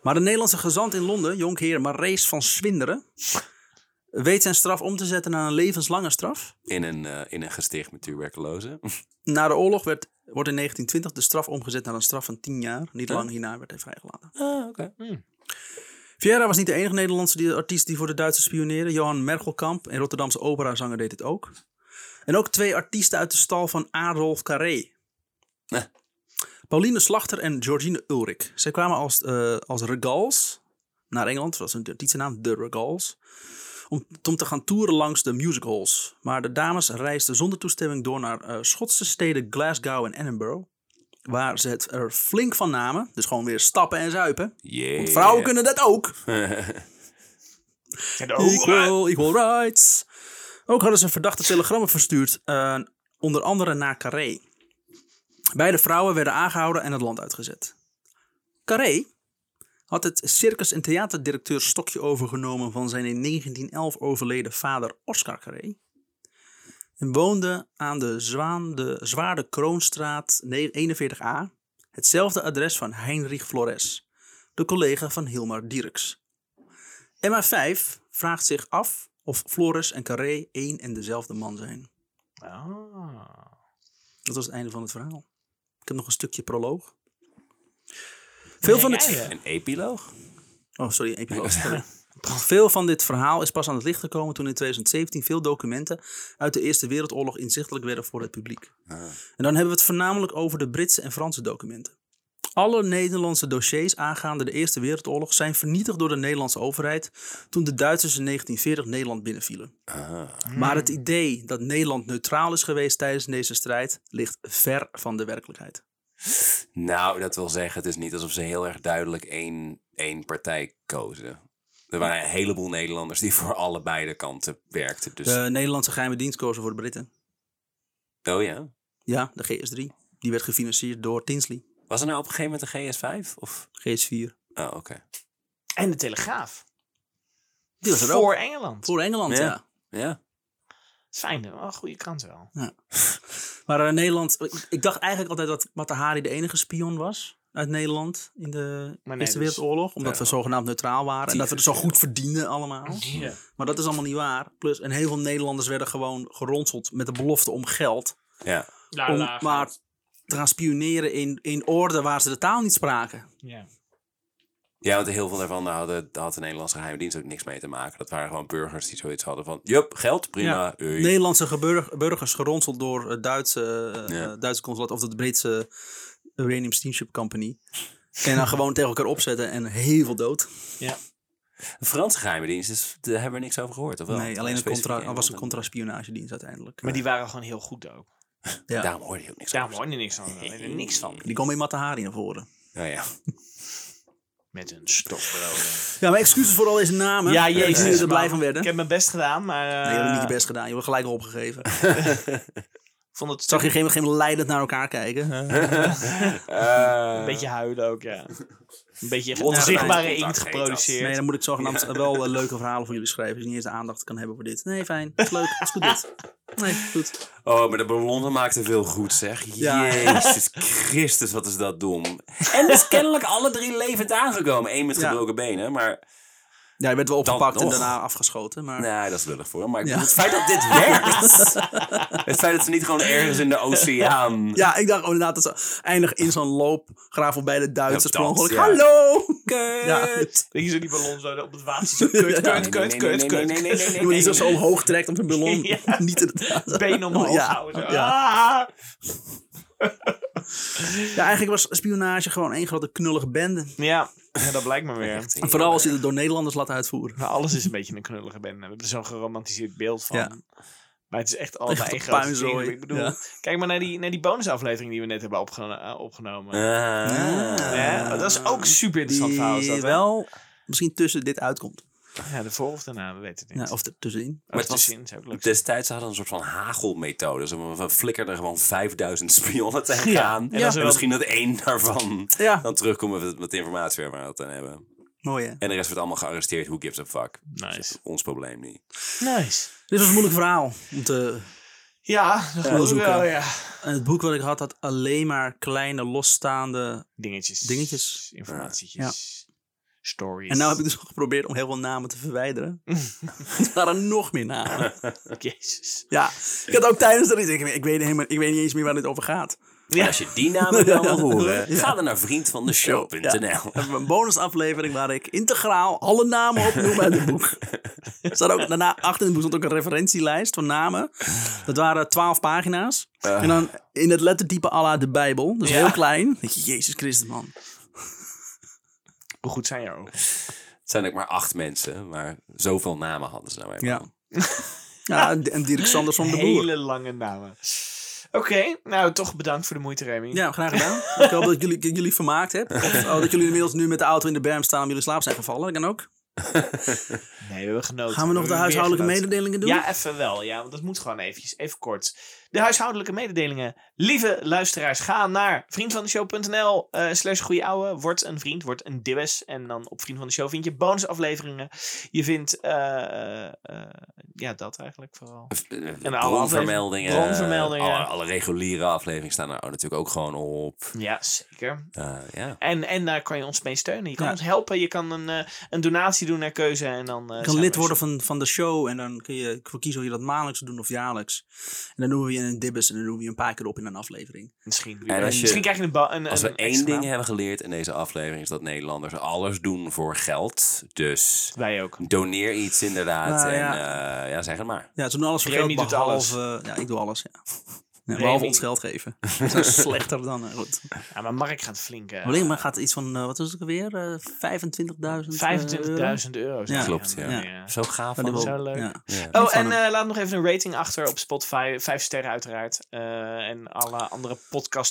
S1: Maar de Nederlandse gezant in Londen, jonkheer Marees van Swinderen, weet zijn straf om te zetten naar een levenslange straf.
S4: In een, eh, in een gesticht met tuberculose.
S1: Na de oorlog werd, wordt in 1920 de straf omgezet naar een straf van 10 jaar. Niet
S4: Ja.
S1: lang hierna werd hij vrijgelaten.
S4: Ah, oké.
S1: Vieira was niet de enige Nederlandse die- artiest die voor de Duitsers spioneerde. Johan Mergelkamp, een Rotterdamse operazanger, deed het ook. En ook twee artiesten uit de stal van Adolf Carré.
S4: Eh.
S1: Pauline Slachter en Georgine Ulrich. Zij kwamen als, eh, als Regals naar Engeland, dat was hun artiestennaam, de Regals. Om, om te gaan toeren langs de music halls. Maar de dames reisden zonder toestemming door naar eh, Schotse steden Glasgow en Edinburgh. Waar ze het er flink van namen. Dus gewoon weer stappen en zuipen.
S4: Yeah.
S1: Want vrouwen kunnen dat ook.
S3: En ook-
S1: Equal, equal rights. Ook hadden ze verdachte telegrammen verstuurd, eh, onder andere naar Carré. Beide vrouwen werden aangehouden en het land uitgezet. Carré had het circus- en theaterdirecteur stokje overgenomen van zijn in 1911 overleden vader Oscar Carré. En woonde aan de, Zwaan, de Zwaarde Kroonstraat ne- 41a, hetzelfde adres van Heinrich Flores, de collega van Hilmar Dierks. MA5 vraagt zich af of Flores en Carré één en dezelfde man zijn.
S3: Ah.
S1: Dat was het einde van het verhaal. Ik heb nog een stukje proloog. Veel van
S3: jij,
S1: het...
S3: hè?
S4: Een epiloog?
S1: Oh, sorry, epiloog. Sorry. Veel van dit verhaal is pas aan het licht gekomen toen in 2017 veel documenten uit de Eerste Wereldoorlog inzichtelijk werden voor het publiek. En dan hebben we het voornamelijk over de Britse en Franse documenten. Alle Nederlandse dossiers aangaande de Eerste Wereldoorlog zijn vernietigd door de Nederlandse overheid toen de Duitsers in 1940 Nederland binnenvielen.
S4: Ah.
S1: Maar
S3: Hmm.
S1: het idee dat Nederland neutraal is geweest tijdens deze strijd ligt ver van de werkelijkheid.
S4: Nou, dat wil zeggen, het is niet alsof ze heel erg duidelijk één, één partij kozen. Er waren een heleboel Nederlanders die voor allebei de kanten werkten. Dus,
S1: De Nederlandse geheime dienst kozen voor de Britten. Eh.
S4: oh ja.
S1: Ja, de GS3. Die werd gefinancierd door Tinsley.
S4: Was er nou op een gegeven moment een GS5? Of?
S1: GS4.
S4: Oh, oké.
S3: En de Telegraaf.
S1: Die was er ook.
S3: Voor Engeland.
S1: Voor Engeland, ja.
S4: Ja. Ja.
S3: Fijn, hè? wel een goede kans wel.
S1: Maar eh, Nederland... Ik, ik dacht eigenlijk altijd dat Matahari de enige spion was uit Nederland in de
S3: Maar nee,
S1: Eerste
S3: dus-
S1: Wereldoorlog. Omdat we zogenaamd neutraal waren. En dat we het zo goed verdienden allemaal.
S3: Ja.
S1: Maar dat is allemaal niet waar. Plus, en heel veel Nederlanders werden gewoon geronseld met de belofte om geld.
S4: ja.
S1: om maar te gaan spioneren in, in orde waar ze de taal niet spraken.
S3: Ja.
S4: Ja, want heel veel daarvan hadden, daar had de Nederlandse geheime dienst ook niks mee te maken. Dat waren gewoon burgers die zoiets hadden van, jup, geld, prima. oei."
S1: Nederlandse geburg- burgers geronseld door het Duitse, eh,
S4: Ja.
S1: Duitse consulat of de Britse Uranium Steamship Company. En dan gewoon tegen elkaar opzetten en heel veel dood.
S4: De Franse geheime dienst, is, daar hebben we niks over gehoord, of wel?
S1: nee, alleen een
S4: Specifiek
S1: contra, er
S4: Engeland
S1: was een
S4: en-
S1: contraspionagedienst uiteindelijk.
S3: Maar die waren gewoon heel goed ook.
S1: ja.
S4: Daarom hoorde je ook niks
S3: Daar
S4: over.
S3: hoorde je niks van.
S4: Nee.
S3: Er niks van.
S1: Die komen in Matahari naar voren.
S4: Nou ja.
S3: Met een stokbrood.
S1: Ja, maar excuses voor al deze namen.
S3: Ja,
S1: Ik
S3: jezus,
S1: zie dat je er
S3: man.
S1: blij van werden.
S3: Ik heb mijn best gedaan, maar... eh,
S1: Nee, je hebt niet je best gedaan. Je wordt gelijk opgegeven.
S3: ik vond het
S1: Zag je geen, geen leidend naar elkaar kijken?
S4: Eh,
S3: een beetje huilen ook, ja. Een beetje onzichtbare
S4: Onzichtbare
S3: inkt
S4: inkt
S3: geproduceerd.
S1: Nee, dan moet ik zogenaamd wel eh, leuke verhalen voor jullie schrijven. Dus niet eens de aandacht kan hebben voor dit. Nee, fijn. Is leuk. Is goed dit. Nee, goed.
S4: Oh, maar de ballonnen maakte veel goed, zeg.
S1: Ja.
S4: Jezus Christus, wat is dat dom. En dat is kennelijk alle drie levend aangekomen. Eén met
S1: Ja.
S4: gebroken benen, maar...
S1: Ja, je werd wel
S4: Dan
S1: opgepakt en
S4: nog.
S1: daarna afgeschoten. Maar
S4: Nee, dat is lullig voor hem. Maar ik
S1: Ja.
S4: bedoel, het feit dat dit werkt... het feit dat ze niet gewoon ergens in de oceaan...
S1: ja, ik dacht oh, inderdaad dat ze eindig in zo'n loopgraaf voorbij de Duitsers.
S4: Ja,
S1: per
S4: dat,
S1: ongeluk.
S4: ja.
S1: Hallo! Ja.
S4: Kut.
S3: Dat je zo die ballon zo op het water zo kut,
S1: Ja.
S3: kut, kut, kut,
S4: Nee, nee, nee, nee, nee,
S3: kut.
S4: nee, nee,
S1: Je moet
S4: nee,
S1: niet zo,
S4: nee.
S1: zo omhoog trekt om de ballon
S3: Ja.
S1: niet te laten.
S3: Been omhoog
S1: Ja,
S3: houden. zo.
S1: ja.
S3: Ah!
S1: Ja, eigenlijk was spionage gewoon één grote knullige bende.
S3: Ja. ja, dat blijkt me weer.
S4: Echt,
S1: En vooral als je het door Nederlanders laat uitvoeren.
S3: Nou, alles is een beetje een knullige bende. We hebben er zo'n geromantiseerd beeld van.
S1: Ja.
S3: Maar het is echt allebei
S1: Echt
S3: een
S1: een
S3: grote
S1: puinzooi.
S3: dingen. Ik bedoel,
S1: Ja.
S3: kijk maar naar die, naar die bonusaflevering die we net hebben opgeno- eh, opgenomen.
S4: Ah.
S3: Hè? dat is ook super interessant verhaal. is
S1: Die
S3: dat, hè?
S1: wel misschien tussen dit uitkomt.
S3: Ja, de voor of daarna, we weten het
S1: Ja,
S3: niet.
S1: of er tussenin.
S3: maar het
S4: het was-
S3: is ook leuk.
S4: Destijds hadden we een soort van hagelmethode. Ze we flikkerden gewoon 5000 spionnen tegenaan.
S3: en
S4: en
S3: dan zo-
S4: misschien dat één daarvan
S1: Ja.
S4: dan terugkomen met, met de informatie waar we het aan hebben.
S1: Mooi hè?
S4: En de rest wordt allemaal gearresteerd. Who gives a fuck?
S3: Nice.
S4: Ons probleem niet.
S3: Nice.
S1: Dit was een moeilijk verhaal om te
S3: Ja, dat geloof ik
S1: onderzoeken.
S3: wel, ja.
S1: En het boek wat ik had, had alleen maar kleine losstaande.
S3: Dingetjes.
S1: Dingetjes.
S3: Informatietjes. Stories.
S1: En nou heb ik dus geprobeerd om heel veel namen te verwijderen. er waren nog meer namen.
S3: Oh, Jezus.
S1: Ja, ik had ook tijdens dat ik denk, ik weet, helemaal, ik weet niet eens meer waar dit over gaat.
S4: En als je die namen dan wil horen, ga dan naar vriendvandeshow.nl.
S1: We hebben een bonusaflevering waar ik integraal alle namen opnoem uit het boek. Er staat ook, daarna achter in het boek stond ook een referentielijst van namen. Dat waren twaalf pagina's. En dan in het lettertype à la de Bijbel. Dus heel klein. Denk je, Jezus Christus, man.
S3: Hoe goed zijn jouw ogen?
S4: Het zijn ook maar acht mensen, maar zoveel namen hadden ze nou even.
S1: Ja. Ja, en Dirk Sanders van de Boer.
S3: Hele lange namen. Oké, nou toch bedankt voor de moeite, Remy.
S1: Ja, graag gedaan. Ik hoop dat jullie, dat jullie vermaakt hebben. Of oh, dat jullie inmiddels nu met de auto in de berm staan om jullie slaap zijn gevallen. Dat kan ook.
S3: Nee, we hebben genoten.
S1: Gaan we nog de
S3: hebben weer
S1: huishoudelijke
S3: genoten.
S1: mededelingen doen?
S3: Ja, eh, even wel. Ja, want dat moet gewoon eventjes. Even kort. De huishoudelijke mededelingen. Lieve luisteraars, ga naar vriendvandeshow.nl eh slash goeie ouwe. Word een vriend, word een dibbes. En dan op Vriend van de Show vind je bonusafleveringen. Je vindt, eh, eh, ja, dat eigenlijk vooral.
S4: En
S3: alle
S4: eh, bronvermeldingen.
S3: afleveringen. Bronvermeldingen.
S4: Alle, alle reguliere afleveringen staan er natuurlijk ook gewoon op.
S3: Ja, zeker.
S4: Eh, ja.
S3: En, en daar kan je ons mee steunen. Je kan
S1: Ja.
S3: ons helpen. Je kan een, eh, een donatie doen naar keuze. En dan, eh,
S1: Je
S3: zijn
S1: kan
S3: we
S1: lid worden van, van de show en dan kun je voor kiezen of je dat maandelijks doet of jaarlijks. En dan doen we je een dibbes en dan doen we je een paar keer op in een aflevering.
S3: Misschien. wie
S4: En
S3: weet.
S4: als je-
S3: Misschien krijg je een... ba- een
S4: Als
S3: een
S4: we één
S3: extra.
S4: ding hebben geleerd in deze aflevering is dat Nederlanders alles doen voor geld. Dus
S3: Wij ook.
S4: doneer iets inderdaad.
S1: Nou,
S4: en
S1: ja.
S4: ja. ja, zeg het maar.
S1: Ja, ze doen alles voor
S3: Remy
S1: geld,
S3: doet alles.
S1: behalve... Ja, ik doe alles, ja. Ja, behalve
S3: Remy-
S1: ons geld geven. Dat is nou slechter dan... eh, Goed.
S3: Ja, maar Mark gaat flink... eh,
S1: Alleen maar gaat iets van, eh, wat is het ook weer? 25.000 euro?
S3: 25.000 euro. zeg
S1: Ja.
S3: je.
S4: Klopt, ja. Zo gaaf
S1: Van
S4: van
S1: de
S4: ons.
S1: hoop,
S3: zo leuk.
S1: ja.
S4: Ja.
S3: Oh,
S1: Niet van
S3: en
S1: hem.
S3: eh, laat nog even een rating achter op Spotify. Vijf sterren uiteraard. Eh, en alle andere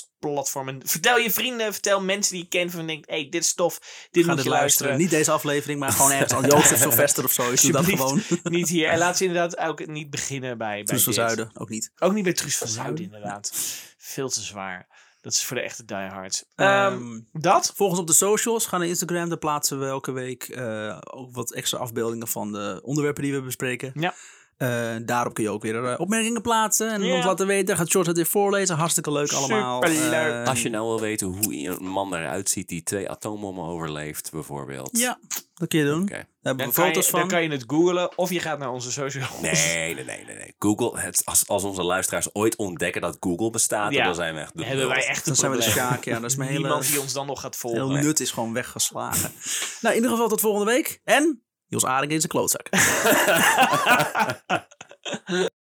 S3: podcastplatformen. Vertel je vrienden, vertel mensen die je kent van denkt, hey, dit is tof, dit
S1: Ga
S3: moet
S1: dit
S3: je luisteren.
S1: luisteren. Niet deze aflevering, maar gewoon ergens. Al Joost of Sylvester of zo. Ik doe dat gewoon.
S3: Alsjeblieft, Niet hier. En laat ze inderdaad ook niet beginnen bij, bij
S1: Truus van
S3: dit.
S1: Zuiden, ook niet.
S3: Ook niet bij Truus van Zuiden, inderdaad. Veel te zwaar. Dat is voor de echte diehards. Ehm,
S1: Ehm,
S3: dat?
S1: Volg ons op de socials. Ga naar Instagram. Daar plaatsen we elke week eh, ook wat extra afbeeldingen van de onderwerpen die we bespreken.
S3: Ja.
S1: Eh, daarop kun je ook weer eh, opmerkingen plaatsen en
S3: Ja.
S1: ons laten weten. Gaat George het weer voorlezen. Hartstikke leuk allemaal.
S3: Superleuk.
S1: Eh,
S4: Als je nou wil weten hoe een man eruit ziet die twee atoombommen overleeft, bijvoorbeeld.
S1: Ja, dat kun je doen.
S4: Oké.
S1: Daar hebben
S3: Dan
S1: we
S3: kan,
S1: foto's
S3: je,
S1: van.
S3: dan kan je het googlen of je gaat naar onze socials.
S4: Nee, nee, nee, nee, nee. Google, het, als, als onze luisteraars ooit ontdekken dat Google bestaat,
S3: Ja.
S4: dan zijn we echt de
S3: Hebben wij
S4: lul.
S3: echt een
S1: Dan zijn we de
S3: probleem.
S1: Sjaak. Ja, dat is mijn hele,
S3: Niemand die ons dan nog gaat volgen.
S1: heel nut is gewoon weggeslagen. nou, in ieder geval tot volgende week. En Jos Aring is een klootzak.